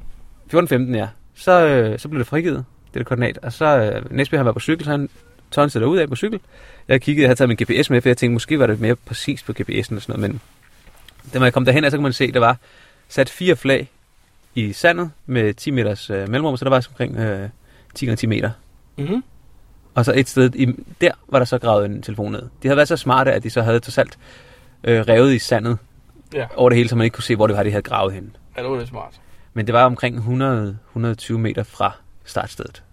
14.15, ja. Så, øh, så blev det frigivet, det der koordinat. Og så øh, Næsby, han var på cykel, så han tonsede derud af på cykel. Jeg kiggede, jeg havde taget min GPS med, for jeg tænkte, måske var det mere præcist på GPS'en og sådan noget, men da man kom derhen, så kunne man se, der var sat fire flag i sandet med 10 meters øh, mellemrum, så der var omkring øh, 10 gange 10 meter.
Mhm.
Og så et sted, i, der var der så gravet en telefon ned. De havde været så smarte, at de så havde trods alt øh, revet i sandet
Ja.
over det hele, så man ikke kunne se, hvor det var, de havde gravet henne.
Ja, det var lidt smart.
Men det var omkring 100, 120 meter fra startstedet.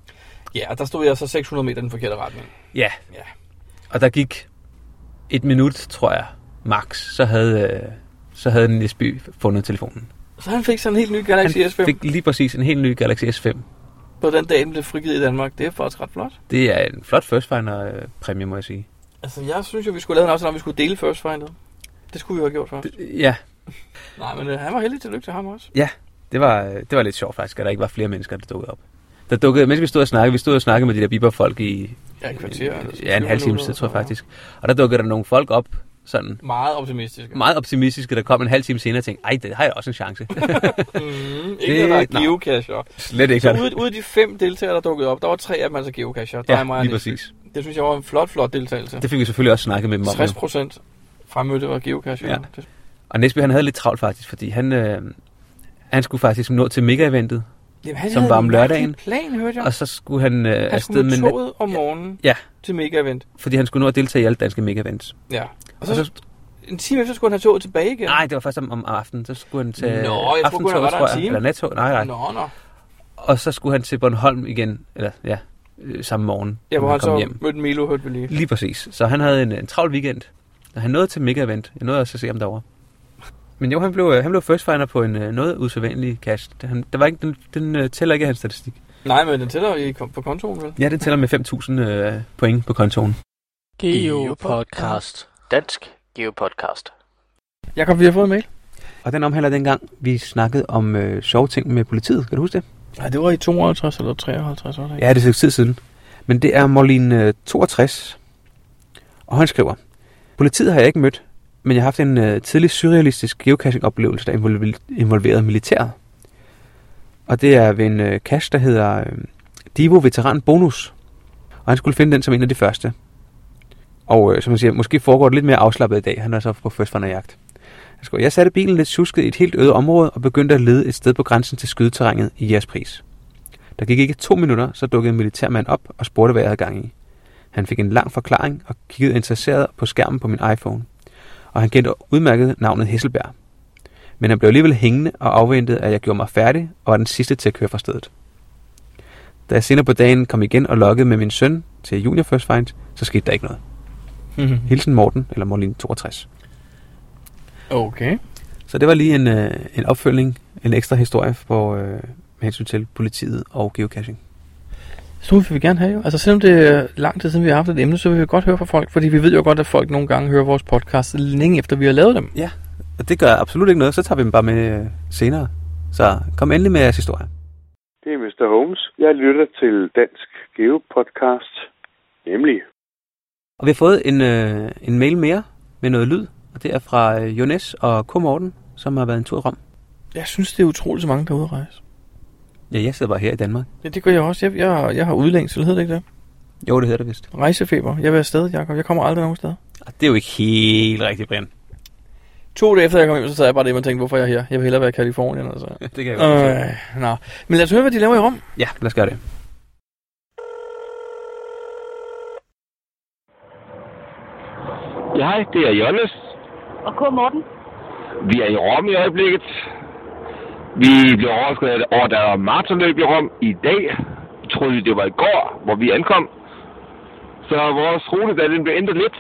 Ja, og der stod jeg så 600 meter i den forkerte retning.
Ja.
ja.
Og der gik et minut, tror jeg, max, så havde, øh, så havde Nisby fundet telefonen.
Så han fik sådan en helt ny Galaxy S5.
Fik lige præcis en helt ny Galaxy S5.
På den dag, den blev frigivet i Danmark. Det er faktisk ret flot.
Det er en flot First Finder-præmie, må jeg sige.
Altså, jeg synes jo, vi skulle lave en aftale om, at vi skulle dele First Findet. Det skulle vi jo have gjort først.
Ja,
Nej, men øh, han var heldig. Tillykke til ham også.
[LAUGHS] Ja, det var, øh, det var lidt sjovt faktisk, at der ikke var flere mennesker, der dukkede op. Der dukkede, mens vi stod og snakkede, vi stod og snakkede med de der biberfolk i
Ja, et kvarter, eller
ja, en
20
halv time,
minutter,
tid, tror jeg
ja.
faktisk. Og der dukkede der nogle folk op, sådan
Meget optimistisk.
meget optimistiske, der kom en halv time senere og tænkte, ej, det har jeg også en chance. [LAUGHS]
Mm, ikke når der
nå,
er geocacher.
Slet ikke.
Så
Så
ude, ude af de fem deltagere, der dukkede op, der var tre af dem altså geocacher. Der
Ja,
er mig og
lige
Niels.
præcis.
Det synes jeg var en flot, flot deltagelse.
Det fik vi selvfølgelig også snakket med dem om.
60 procent fremmødte var geocacher.
Ja.
Ja. Det,
Og Nesby, han havde lidt travlt faktisk, fordi han, øh, han skulle faktisk nå til mega-eventet,
Jamen, han
som
havde
var om
en
lørdagen.
mærkelig plan, hørte jeg.
Og så skulle han øh,
han skulle med
nat-
toget om morgenen
Ja,
til mega-event.
fordi han skulle nå at deltage i alle danske mega-events.
Ja. Og så, en time efter skulle han have toget tilbage igen.
Nej, det var først om, om aftenen. Så skulle han til
Nå, jeg troede kun, han
aftentoget,
var der en
tror jeg.
time.
Eller nattog. Nej, nej.
Nå, nå.
Og så skulle han til Bornholm igen. Eller ja, øh, samme morgen.
Ja,
når
hvor han
kom
så
hjem.
mødte Milo, hørte vi lige.
Lige præcis. Så han havde en, en travl weekend. Og han nåede til Mega Event. Jeg nåede også at se ham derovre. Men jo, han blev, øh, han blev first finder på en øh, noget usædvanlig cash. Han, der var ikke, den, den øh, tæller ikke i hans statistik.
Nej, men den tæller i kom- på kontoen, vel?
Ja, den tæller med 5.000 øh, point på kontoen.
Geopodcast. Dansk Geopodcast.
Jakob, vi har fået en mail.
Og den omhandler dengang, vi snakkede om øh, sjove ting med politiet. Kan du huske det?
Nej, det var i 52 eller 53 år.
Ja, det er et stykke tid siden. Men det er Morlin øh, 62, og han skriver, Politiet har jeg ikke mødt, men jeg har haft en øh, tidlig surrealistisk geocaching-oplevelse, der involver- involverede militæret. Og det er ved en øh, cache, der hedder øh, Divo Veteran Bonus. Og han skulle finde den som en af de første. Og øh, som man siger, måske foregår det lidt mere afslappet i dag. Han er så på First Runner jagt. Han skriver, jeg satte bilen lidt susket i et helt øde område og begyndte at lede et sted på grænsen til skydeterrænet i Jaspris. Der gik ikke to minutter, så dukkede en militærmand op og spurgte, hvad jeg havde gang i. Han fik en lang forklaring og kiggede interesseret på skærmen på min iPhone. Og han kendte udmærket navnet Hesselberg. Men han blev alligevel hængende og afventede, at jeg gjorde mig færdig og var den sidste til at køre fra stedet. Da jeg senere på dagen kom igen og lokkede med min søn til Junior First Find, så skete der ikke [LAUGHS] noget.
Mhm.
Hilsen Morten, eller Morlin 62.
Okay.
Så det var lige en, øh, en opfølgning, en ekstra historie på, øh, med hensyn til politiet og geocaching.
Så vil vi gerne have jo. Altså selvom det er lang tid siden, vi har haft et emne, så vil vi godt høre fra folk, fordi vi ved jo godt, at folk nogle gange hører vores podcast længe efter, vi har lavet dem.
Ja. Og det gør absolut ikke noget, så tager vi dem bare med øh, senere. Så kom endelig med jeres historie.
Det er Mr. Holmes. Jeg lytter til Dansk Geopodcast, nemlig
Og vi har fået en, øh, en mail mere med noget lyd, og det er fra øh, Jonas og K. Morten, som har været en tur i Rom.
Jeg synes, det er utroligt så mange, der er ude at rejse.
Ja, jeg sidder bare her i Danmark.
Ja, det gør jeg også. Jeg, jeg, jeg har udlængsel, hedder det ikke det?
Jo, det hedder det vist.
Rejsefeber. Jeg vil afsted, Jacob. Jeg kommer aldrig nogen steder.
Og det er jo ikke helt rigtigt, Brian.
To dage efter jeg kom hjem, så sad jeg bare det, man tænkte, hvorfor er jeg her? Jeg vil hellere være i Kalifornien. Altså.
[LAUGHS] Det kan jeg godt
øh,
forstå.
nå. Men lad os høre, hvad de laver i Rom.
Ja, lad os gøre det.
Ja, hej, det er Jolles.
Og K. Morten?
Vi er i Rom i øjeblikket.
Vi blev overrasket over, at der var maratonløb i Rom i dag. Vi troede, vi, det var i går, hvor vi ankom. Så vores rute, da den blev ændret lidt,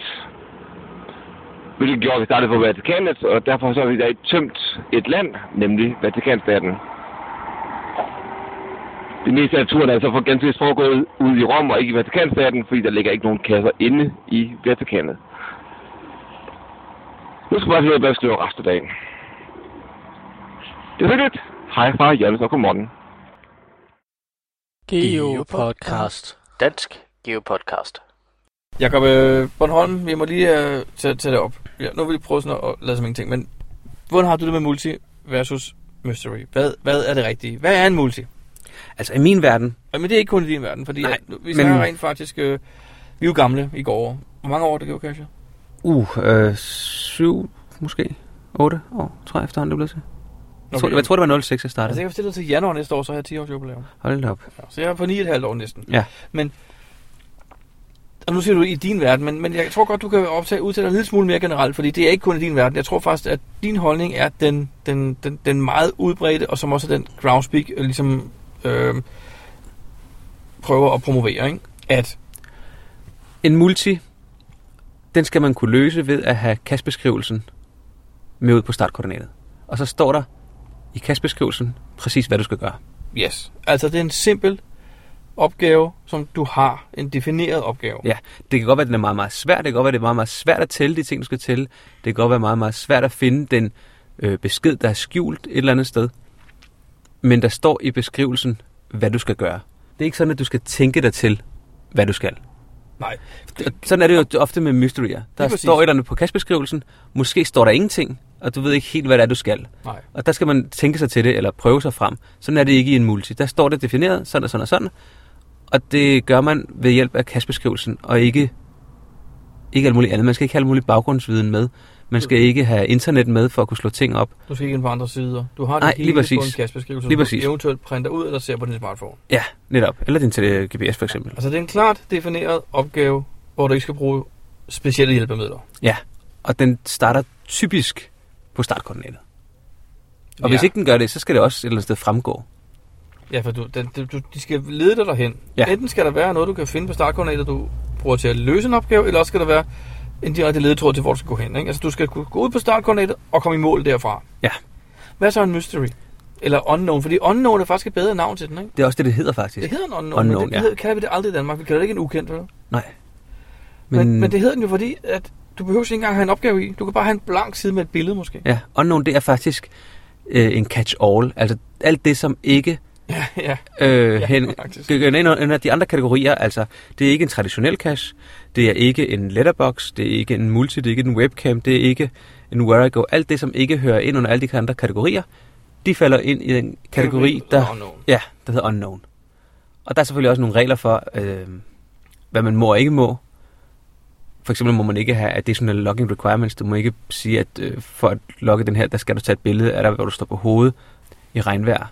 hvilket gjorde, at vi startede på Vatikanet, og derfor så har vi i dag tømt et land, nemlig Vatikanstaten. Det meste af turen er så for ganske vist foregået ud i Rom og ikke i Vatikanstaten, fordi der ligger ikke nogen kasser inde i Vatikanet. Nu skal vi bare finde ud af, hvad vi skal lave resten af dagen. Det er hyggeligt. Hej fra Jørgens og godmorgen.
Geopodcast. Dansk Geopodcast.
Jakob øh, Bornholm, vi må lige øh, tage, tage det op. Ja, nu vil vi prøve sådan at lade som ingenting, men hvordan har du det med multi versus mystery? Hvad, hvad er det rigtige? Hvad er en multi?
Altså i min verden,
Ja, men det er ikke kun i din verden, fordi Nej, at, nu- vi
men-
snakker rent faktisk... Øh, vi er jo gamle i går. Hvor mange år er det gjorde Kasia?
uh, øh, syv, måske otte år, tror jeg efterhånden, det blev til. Jeg tror,
Okay.
jeg tror, det var 06, jeg
Altså,
startede.
jeg kan stille til januar næste år, så har jeg 10 års jubilæum.
Hold da op.
Ja, Så jeg er på 9,5 år næsten.
Ja.
Men, og nu siger du i din verden, men, men jeg tror godt, du kan optage, udtale dig en lille smule mere generelt, fordi det er ikke kun i din verden. Jeg tror faktisk, at din holdning er den, den, den, den meget udbredte, og som også er den groundspeak øh, ligesom, øh, prøver at promovere, ikke? At
En multi, den skal man kunne løse ved at have kastbeskrivelsen med ud på startkoordinatet. Og så står der i kastbeskrivelsen præcis, hvad du skal gøre.
Yes. Altså, det er en simpel opgave, som du har. En defineret opgave.
Ja, det kan godt være, at den er meget, meget svær. Det kan godt være, at det er meget, meget svært at tælle de ting, du skal tælle. Det kan godt være meget, meget svært at finde den øh, besked, der er skjult et eller andet sted. Men der står i beskrivelsen, hvad du skal gøre. Det er ikke sådan, at du skal tænke dig til, hvad du skal.
Nej.
Sådan er det jo ofte med mysterier. Der
præcis.
står et eller andet på kastbeskrivelsen. Måske står der ingenting, og du ved ikke helt, hvad det er, du skal.
Nej.
Og der skal man tænke sig til det, eller prøve sig frem. Sådan er det ikke i en multi. Der står det defineret, sådan og sådan og sådan. Og det gør man ved hjælp af kastbeskrivelsen, og ikke, ikke alt muligt andet. Man skal ikke have alt muligt baggrundsviden med. Man
Mm.
skal ikke have internet med for at kunne slå ting op.
Du skal ikke ind på andre sider. Du har det
Nej,
hele
lige
på en
præcis.
kastbeskrivelse,
Lige
som
præcis.
du eventuelt printer ud eller ser på din smartphone.
Ja, netop. Eller din tele- GPS for eksempel.
Altså, det er en klart defineret opgave, hvor du ikke skal bruge specielle hjælpemidler.
Ja, og den starter typisk på startkoordinatet. Og hvis
Ja.
ikke den gør det, så skal det også et eller andet sted fremgå.
Ja, for du, den, den- du, de skal lede dig derhen.
Ja.
Enten skal der være noget, du kan finde på startkoordinatet, du bruger til at løse en opgave, eller også skal der være en direkte ledetråd til, hvor du skal gå hen. Ikke? Altså, du skal kunne gå ud på startkoordinatet og komme i mål derfra.
Ja.
Hvad så en mystery? Eller unknown, fordi unknown er faktisk et bedre navn til den, ikke?
Det er også det, det hedder faktisk.
Det hedder en unknown, unknown men det, ja. kalder vi det aldrig i Danmark. Vi kalder det ikke en ukendt, vel?
Nej.
Men, men,
Men-
men det hedder den jo, fordi at du behøver ikke engang have en opgave i. Du kan bare have en blank side med et billede, måske.
Ja, unknown, det er faktisk øh, en catch-all. Altså alt det, som ikke
[LAUGHS] Ja, ja.
øh,
Ja,
hen,
faktisk.
ja, ind under de andre kategorier. Altså, det er ikke en traditionel cache, det er ikke en letterbox, det er ikke en multi, det er ikke en webcam, det er ikke en where I go. Alt det, som ikke hører ind under alle de andre kategorier, de falder ind i den kategori,
der
der,
hedder unknown.
ja, der hedder unknown. Og der er selvfølgelig også nogle regler for, øh, hvad man må og ikke må. For eksempel må man ikke have additional logging requirements. Du må ikke sige, at øh, for at logge den her, der skal du tage et billede af dig, hvor du står på hovedet i regnvejr.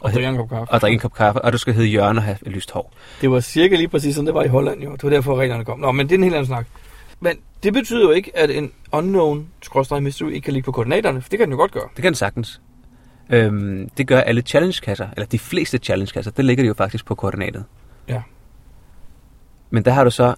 Og drikke en kop kaffe.
Og drikke en kop kaffe, og du skal hedde Jørgen og have lyst hår.
Det var cirka lige præcis sådan, det var i Holland jo. Det var derfor reglerne kom. Nå, men det er en helt anden snak. Men det betyder jo ikke, at en unknown skråstreg mystery ikke kan ligge på koordinaterne, for det kan den jo godt gøre.
Det kan den sagtens. Øhm, det gør alle challenge-kasser, eller de fleste challenge-kasser, der ligger de jo faktisk på koordinatet.
Ja.
Men der har du så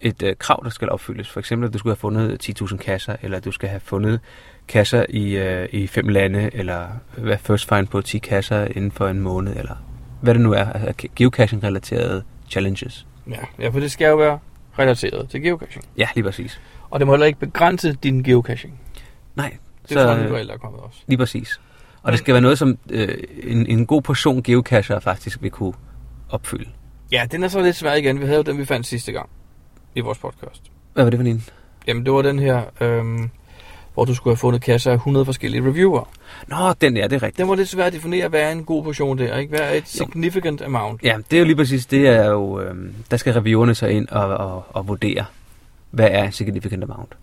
et øh, krav, der skal opfyldes. For eksempel, at du skulle have fundet 10.000 kasser, eller at du skal have fundet kasser i, øh, i fem lande, eller hvad first find på 10 kasser inden for en måned, eller hvad det nu er, altså ge- geocaching-relaterede challenges.
Ja, ja for det skal jo være relateret til geocaching.
Ja, lige præcis.
Og det må heller ikke begrænse din geocaching.
Nej.
Det tror jeg, nogle regler er kommet også.
øh, Lige præcis. Og det skal være noget, som øh, en, en god portion geocacher faktisk vil kunne opfylde.
Ja, den er så lidt svær igen. Vi havde jo den, vi fandt sidste gang i vores podcast.
Hvad var det for en?
Jamen, det var den her, øhm, hvor du skulle have fundet kasser af 100 forskellige reviewer.
Nå, den er det er rigtigt.
Den var lidt svært at definere, hvad er en god portion der, ikke? Hvad er et significant amount?
Ja, det er jo lige præcis, det er jo, øh, der skal reviewerne så ind og, og, og vurdere, hvad er significant amount.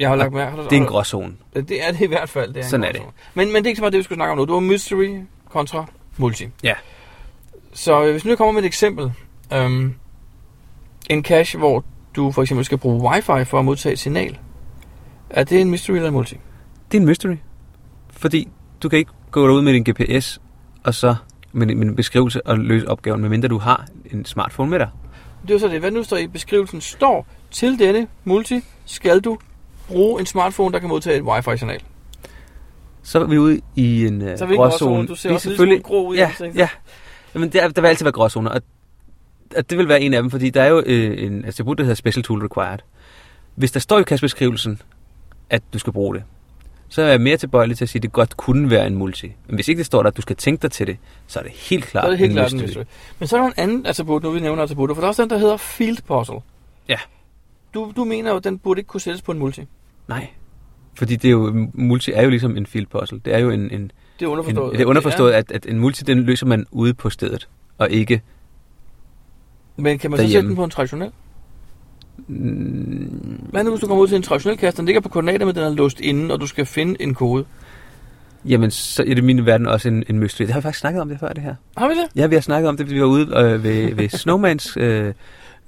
Jeg har lagt
Og
mærke til
det er en gråzone.
Ja, Det er det i hvert fald. Det er en
Sådan er
gråzone. Men, men det er ikke så meget det, vi skulle snakke om nu. Det var mystery kontra multi.
Ja.
Så øh, hvis nu jeg kommer med et eksempel. Øhm, en cache, hvor du for eksempel skal bruge wifi for at modtage et signal. Er det en mystery eller en multi?
Det er en mystery, fordi du kan ikke gå derud med din GPS, og så med, din- med en beskrivelse og løse opgaven, medmindre du har en smartphone med dig.
Det er så det. Hvad nu står i beskrivelsen? Står til denne multi skal du bruge en smartphone, der kan modtage et wifi-signal.
Så er vi ude i en øh,
Så er vi i gråzonen. Du ser
Vi er
også en lille
selvfølgelig-
smule grå ud i
Ja,
ansigtet.
ja. Jamen, der, der vil altid være gråzoner, og, og det vil være en af dem, fordi der er jo øh, en attribut, der hedder Special Tool Required. Hvis der står i kastbeskrivelsen, at du skal bruge det, så er jeg mere tilbøjelig til at sige, at det godt kunne være en multi. Men hvis ikke det står der, at du skal tænke dig til det, så er det helt klart
så er det helt
en
klart en
mystery.
mystery. Men så er der en anden attribut, nu vi nævner attributter, for der er også den, der hedder Field Puzzle.
Ja.
Du, du mener jo, at den burde ikke kunne sættes på en multi.
Nej. Fordi det er jo, multi er jo ligesom en field puzzle. Det er jo en... en
Det er underforstået.
En, det er underforstået,
Ja.
at, at en multi, den løser man ude på stedet, og ikke
Men kan man så sætte
derhjemme.
den på en traditionel?
Mm,
Hvad nu, hvis du kommer ud til en traditionel kasse, den ligger på koordinater, men den er låst inden, og du skal finde en kode?
Jamen, så er det i min verden også en, en mystery. Det har vi faktisk snakket om det før, det her.
Har vi det?
Ja, vi har snakket om det, fordi vi var ude øh, ved,
[LAUGHS]
ved Snowmans øh,
Det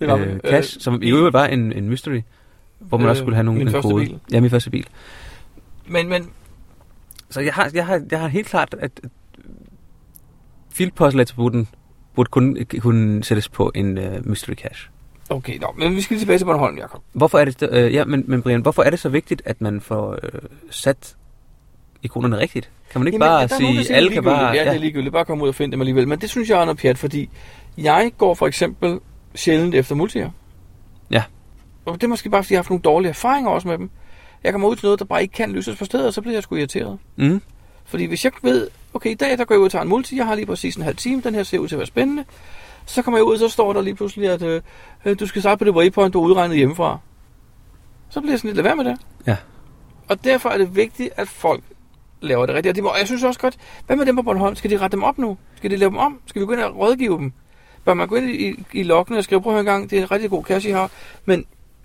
var vi.
øh, cash,
Øh,
øh, som i øvrigt var en, en mystery, hvor man øh, også
Øh,
skulle have nogle
min
en
første
kode.
bil.
Ja, min første bil.
Men, men
Så jeg har, jeg har, jeg har helt klart, at at field puzzle attributen burde kun kunne sættes på en øh, mystery cache.
Okay, nå, men vi skal lige tilbage til Bornholm, Jacob.
Hvorfor er det, øh, ja, men, men Brian, hvorfor er det så vigtigt, at man får øh, sat ikonerne rigtigt? Kan man ikke
Jamen,
bare
ja, der er nogen, der
sige,
siger,
alle
det er
kan bare...
ligegyldigt. Ja, det er ligegyldigt. Bare kom ud og find dem alligevel. Men det synes jeg er noget pjat, fordi jeg går for eksempel sjældent efter multier.
Ja.
Og det er måske bare, fordi jeg har haft nogle dårlige erfaringer også med dem. Jeg kommer ud til noget, der bare ikke kan løses på stedet, og så bliver jeg sgu irriteret.
Mhm.
Fordi hvis jeg ved, okay, i dag der går jeg ud og tager en multi, jeg har lige præcis en halv time, den her ser ud til at være spændende. Så kommer jeg ud, og så står der lige pludselig, at øh, øh, du skal starte på det waypoint, du er udregnet hjemmefra. Så bliver jeg sådan lidt, lad være med det.
Ja.
Og derfor er det vigtigt, at folk laver det rigtigt. Og, de må, og jeg synes også godt, hvad med dem på Bornholm? Skal de rette dem op nu? Skal de lave dem om? Skal vi gå ind og rådgive dem? Bør man gå ind i, i lokkene og skrive, prøv at høre en gang, det er en rigtig god kasse, I har, men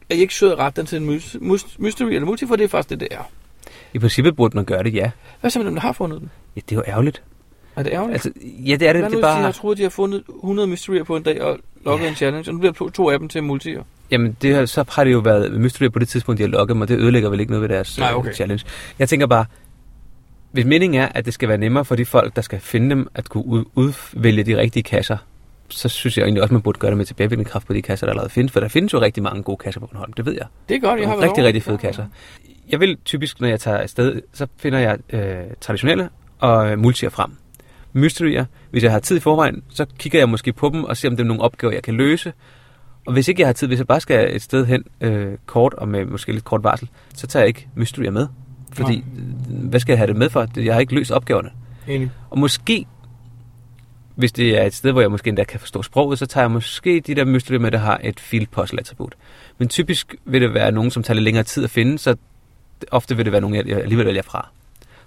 er I ikke sød at rette den til en mys- mys- mystery eller multi, for det er faktisk det, det er.
I princippet burde man gøre det, ja.
Hvad så med dem, der har fundet den?
Ja, det er jo ærgerligt.
Er det ærgerligt?
Altså, ja, det er det.
Hvad
det
nu,
er
hvis de har
bare...
troet, de har fundet 100 mysterier på en dag og lokket en challenge, og nu bliver to, to af dem til multier.
Jamen, det, har- så har det jo været mystery på det tidspunkt, de har lokket mig. Det ødelægger vel ikke noget ved deres
Nej,
øh,
okay.
challenge. Jeg tænker bare, hvis meningen er, at det skal være nemmere for de folk, der skal finde dem, at kunne ud- udvælge de rigtige kasser, så synes jeg egentlig også, man burde gøre det med tilbagevirkende kraft på de kasser, der allerede findes. For der findes jo rigtig mange gode kasser på Bornholm, det ved jeg.
Det er godt, jeg har været
Nogle rigtig,
over.
rigtig fede kasser. Jeg vil typisk, når jeg tager afsted, så finder jeg øh, traditionelle og øh, multier frem. Mysterier, hvis jeg har tid i forvejen, så kigger jeg måske på dem og ser, om det er nogle opgaver, jeg kan løse. Og hvis ikke jeg har tid, hvis jeg bare skal et sted hen øh, kort og med måske lidt kort varsel, så tager jeg ikke mysterier med. Fordi, øh, hvad skal jeg have det med for? Det- Jeg har ikke løst opgaverne.
Enig.
Og måske, hvis det er et sted, hvor jeg måske endda kan forstå sproget, så tager jeg måske de der mysterier med, der har et field puzzle attribut. Men typisk vil det være nogen, som tager lidt længere tid at finde, så ofte vil det være nogen, jeg alligevel vælger fra.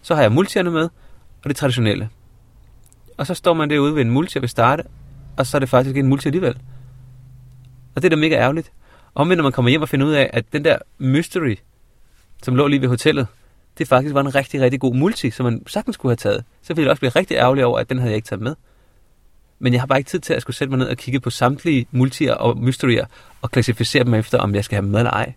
Så har jeg multierne med, og det traditionelle. Og så står man derude ved en multi, jeg vil starte, og så er det faktisk ikke en multi alligevel. Og det er da mega ærgerligt. Og når man kommer hjem og finder ud af, at den der mystery, som lå lige ved hotellet, det faktisk var en rigtig, rigtig god multi, som man sagtens kunne have taget. Så ville jeg også blive rigtig ærgerlig over, at den havde jeg ikke taget med. Men jeg har bare ikke tid til at skulle sætte mig ned og kigge på samtlige multier og mysterier og klassificere dem efter, om jeg skal have dem med eller ej.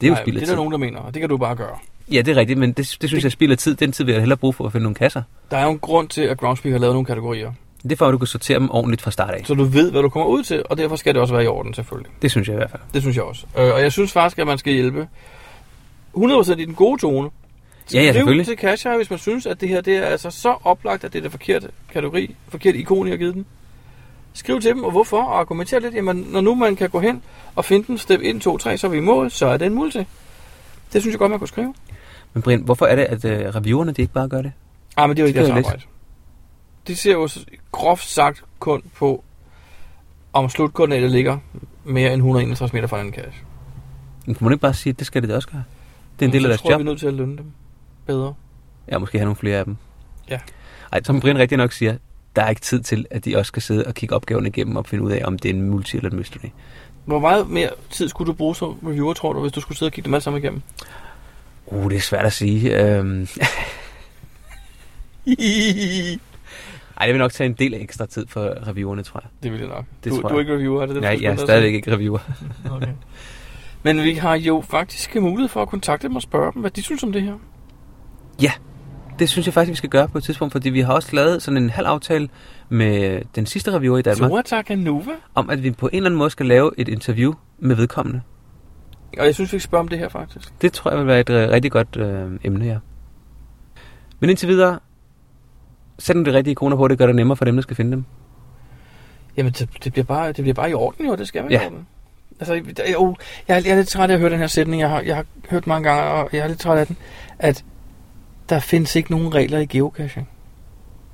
Det er jo
Nej,
spild af
Det er
tid.
der nogen, der mener, og det kan du bare gøre.
Ja, det er rigtigt, men det, det synes jeg spilder tid. Den tid vil jeg hellere bruge for at finde nogle kasser.
Der er jo en grund til, at Groundspeak har lavet nogle kategorier.
Det er for, at du kan sortere dem ordentligt fra start af.
Så du ved, hvad du kommer ud til, og derfor skal det også være i orden, selvfølgelig.
Det synes jeg i hvert fald.
Det synes jeg også. Øh, og jeg synes faktisk, at man skal hjælpe 100% i den gode tone.
Ja, ja,
Skriv
selvfølgelig.
til Kasha, hvis man synes, at det her det er altså så oplagt, at det er det forkerte kategori, forkert ikon, jeg har givet den. Skriv til dem, og hvorfor, og argumenter lidt. Jamen, når nu man kan gå hen og finde den, step 1, 2, 3, så er vi i mål, så er det en multi. Det synes jeg godt, man kunne skrive.
Men Brian, hvorfor er det, at øh, reviewerne de ikke bare gør det?
Ah, men det er jo ikke
Skriver
deres
lidt.
arbejde. De ser jo s- groft sagt kun på, om slutkoordinatet ligger mere end 161 meter fra en anden kasse.
Men kunne man ikke bare sige, at det skal det da også gøre? Det er en del af
Mm, så
deres
tror jeg,
job.
vi er nødt til at lønne dem bedre.
Ja, måske have nogle flere af dem.
Ja.
Ej, som Brian rigtig nok siger, der er ikke tid til, at de også skal sidde og kigge opgaven igennem og finde ud af, om det er en multi eller en mystery.
Hvor meget mere tid skulle du bruge som reviewer, tror du, hvis du skulle sidde og kigge dem alle sammen igennem?
Uh, det er svært at sige. Øhm... [LAUGHS] Ej, det vil nok tage en del ekstra tid for reviewerne, tror jeg.
Det vil det nok.
Det
du,
tror
du er
jeg.
ikke reviewer, er det det, du
Nej,
skulle
jeg er
skynde dig at
stadigvæk
sige?
ikke reviewer. [LAUGHS]
okay. Men vi har jo faktisk mulighed for at kontakte dem og spørge dem, hvad de synes om det her.
Ja. det synes jeg faktisk, vi skal gøre på et tidspunkt, fordi vi har også lavet sådan en halv aftale med den sidste reviewer i Danmark.
Tora Takanova?
Om at vi på en eller anden måde skal lave et interview med vedkommende.
Og jeg synes, vi skal spørge om det her, faktisk.
Det tror jeg vil være et øh, rigtig godt øh, emne her. Men indtil videre, sæt nu de rigtige ikoner på, det gør det nemmere for dem, der skal finde dem.
Jamen, det, det, bliver, bare, det bliver bare i orden, jo. Det skal være
Ja.
i orden. Altså, der- jo, jeg, er- jeg er lidt træt af at høre den her sætning. Jeg har, jeg har hørt mange gange, og jeg er lidt træt af den. At der findes ikke nogen regler i geocaching.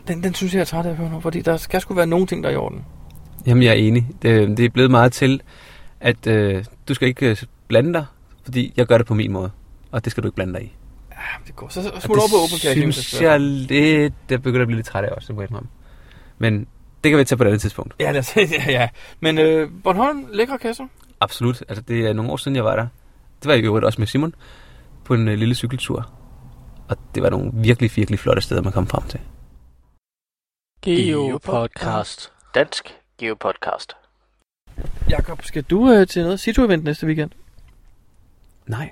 Den, den synes jeg, jeg er træt af at høre nu, fordi der skal sgu være nogle ting, der er i orden.
Jamen, jeg er enig. Det, det er blevet meget til, at øh, du skal ikke øh, blande dig, fordi jeg gør det på min måde, og det skal du ikke blande dig i.
Det går. Så, så
Og
smut over på open caching. hvis det
synes
er.
jeg lidt, jeg begynder at blive lidt træt af også, det må jeg indrømme. Men det kan vi tage på et andet tidspunkt.
Ja, lad os, [LAUGHS] ja, ja. Men øh, Bornholm, lækre kasser.
Absolut. Altså, det er nogle år siden, jeg var der. Det var i øvrigt også med Simon på en øh, lille cykeltur. Og det var nogle virkelig, virkelig flotte steder, man kom frem til.
Geopodcast. Dansk Geopodcast.
Jakob, skal du øh, til noget situ-event næste weekend?
Nej.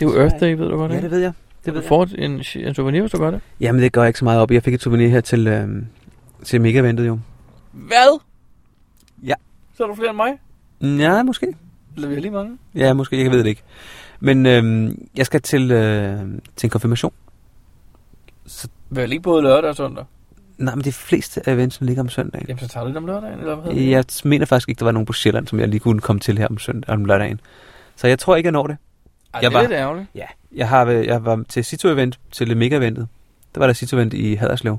Det er jo Earth Day, ved du godt,
Ja,
ikke?
det ved jeg. Det
Det
ved
du får en, en souvenir, hvis du gør det.
Jamen, det går jeg ikke så meget op i. Jeg fik et souvenir her til, øh, til Megaventet jo.
Hvad?
Ja.
Så er du flere end mig?
Ja, måske.
Eller vi har lige mange?
Ja, måske. Jeg ved det ikke. Men øh, jeg skal til, øh, til en konfirmation.
Vel ikke både lørdag og søndag?
Nej, men de fleste af eventsen ligger om søndagen.
Jamen, så tager du dem lørdagen, eller hvad hedder det?
Jeg mener faktisk ikke, der var nogen på Sjælland, som jeg lige kunne komme til her om, søndag, om lørdagen. Så jeg tror ikke, jeg når det.
Ej,
jeg
det er lidt ærgerligt.
Ja. Jeg, har, øh, jeg var til Situ-event, til Mega-eventet. Der var der Situ-event i Haderslev.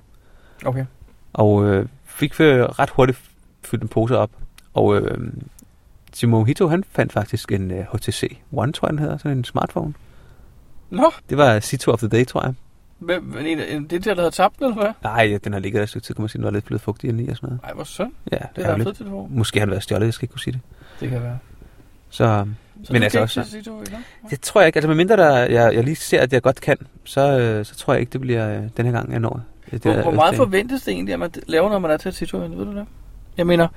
Okay.
Og øh, fik øh, ret hurtigt fyldt en pose op. Og øh, Simon Hito, han fandt faktisk en øh, HTC One, tror jeg, den hedder. Sådan en smartphone.
Nå,
Det var Situ of the Day, tror jeg.
hvem, men en, en, det er der, der havde tabt den, eller hvad?
Nej, ja, den har ligget der et stykke tid, kan man sige. Den var lidt blevet fugtig indeni og sådan noget.
Ej, hvor synd.
Ja,
Det er da en
ærgerligt.
fed telefon.
Måske har den været stjålet, jeg skal ikke kunne sige det.
Det kan være.
Så,
Så
men
du
altså
kan
også...
ikke sige, du er i gang?
Det tror jeg ikke. Altså, medmindre der, jeg, jeg lige ser, at jeg godt kan, så, øh, så tror jeg ikke, det bliver øh, den her gang, jeg når. øh, Det
Hvor,
der
hvor meget
Østdagen.
forventes det egentlig, at man laver, når man er til et situ ved du det? Jeg mener,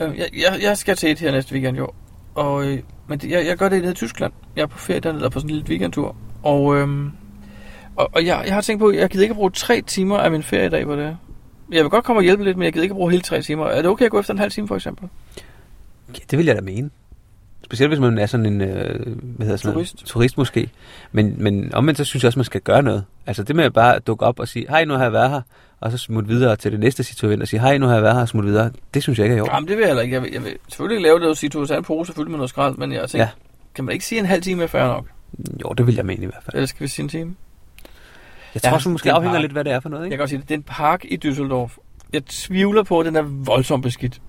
øh, jeg, jeg, jeg skal til et her næste weekend, jo. Og, øh, men det, jeg, jeg gør det nede i Tyskland. Jeg er på ferie dernede, og på sådan en lille weekendtur. Og, øhm, og, og jeg, jeg har tænkt på, at jeg gider ikke at bruge tre timer af min feriedag på det. Jeg vil godt komme og hjælpe lidt, men jeg gider ikke at bruge hele tre timer. Er det okay at gå efter en halv time, for eksempel?
Ja, det vil jeg da mene. Specielt hvis man er sådan en øh, hvad hedder sådan turist. turist måske. Men, men omvendt, så synes jeg også, man skal gøre noget. Altså det med at bare dukke op og sige, hej, nu har jeg været her, og så smutte videre til det næste situation og sige, hej, nu har jeg været her og smutte videre. Det synes jeg ikke er i orden.
Jamen, det vil jeg heller ikke. Jeg vil, jeg vil selvfølgelig ikke lave det, at sige, du har en pose fyldt med noget skrald, men jeg tænker,
Ja.
ja. kan man ikke sige, at en halv time er fair nok?
Jo, det vil jeg mene i hvert fald.
Eller skal vi sige en time?
Jeg tror også, måske
Øh, det er en
afhænger
park.
lidt, hvad det er for noget, ikke?
Jeg kan godt sige, det Det er en park i Düsseldorf. Jeg tvivler på, at den er voldsomt beskidt.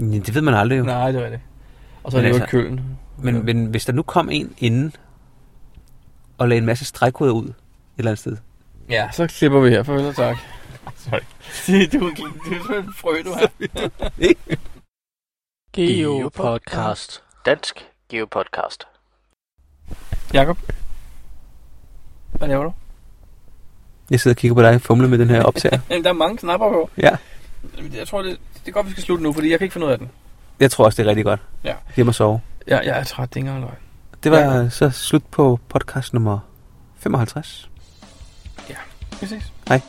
Ja, Det ved man aldrig jo. altså,
Nej, det er rigtigt. Og så er det jo i Køln.
Men, ja. men hvis der nu kom en inden og lagde en masse stregkoder ud et eller andet sted.
Ja, så klipper vi her. Farvel og tak. [LAUGHS] Sorry. du, du, du er sådan en frø, du
[LAUGHS]
har.
Geopodcast. Dansk Geopodcast.
Jakob? Hvad laver du?
Jeg sidder og kigger på dig og fumler med den her
[LAUGHS]
optager.
Jamen, der er mange knapper på.
Ja.
Jeg tror, det, det er godt, vi skal slutte nu, fordi jeg kan ikke finde ud af den.
Jeg tror også, det er rigtig godt.
Ja.
Hjem og sove.
Ja, jeg er træt, det er ikke engang løgn.
Det var ja. så slut på podcast nummer 55.
Vi ses.
Hej.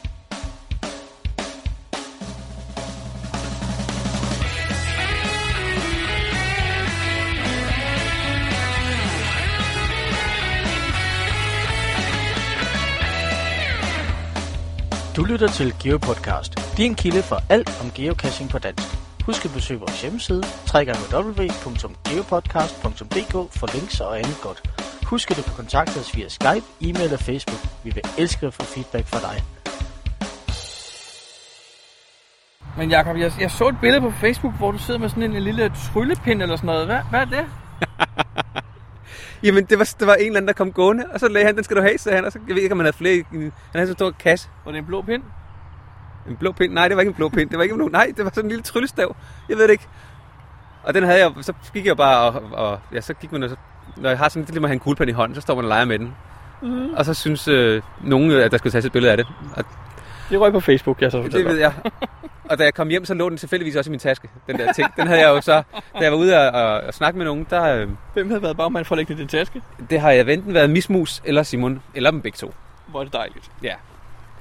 Du lytter til Geopodcast, din kilde for alt om geocaching på dansk. Husk at besøge vores hjemmeside, www.geopodcast.dk for links og andet godt. Husk at du kan kontakte os via Skype, e-mail og Facebook. Vi vil elske at få feedback fra dig.
Men Jakob, jeg, jeg så et billede på Facebook, hvor du sidder med sådan en, en lille tryllepind eller sådan noget. Hvad, hvad er det?
Jamen, det var, det var en eller anden, der kom gående, og så lagde han, den skal du have, sagde han. Og så, jeg ved ikke, om han havde flere. i- Han havde så stor kasse.
Var det en blå pind?
En blå pind? Nej, det var ikke en blå pind. Det var ikke en blå, nej, det var sådan en lille tryllestav. Jeg ved det ikke. Og den havde jeg, så gik jeg bare, og, og ja, så gik man, og så, når jeg har sådan, det er ligesom at have en kuglepen i hånden, så står man og leger med den.
Mm.
Og så synes øh, nogen, at der skulle tages et billede af det. Og
Det røg på Facebook, jeg så
det ved jeg. Og da jeg kom hjem, så lå den tilfældigvis også i min taske, den der ting. Den havde jeg jo så, da jeg var ude og, og, og snakke med nogen, der, øh,
Hvem havde været bagmand for at lægge det i din taske?
det har jeg enten været Mismus eller Simon, eller dem begge to.
Hvor er det dejligt.
Ja.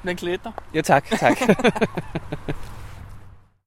Den klædte dig. [LAUGHS]
Ja, tak, tak.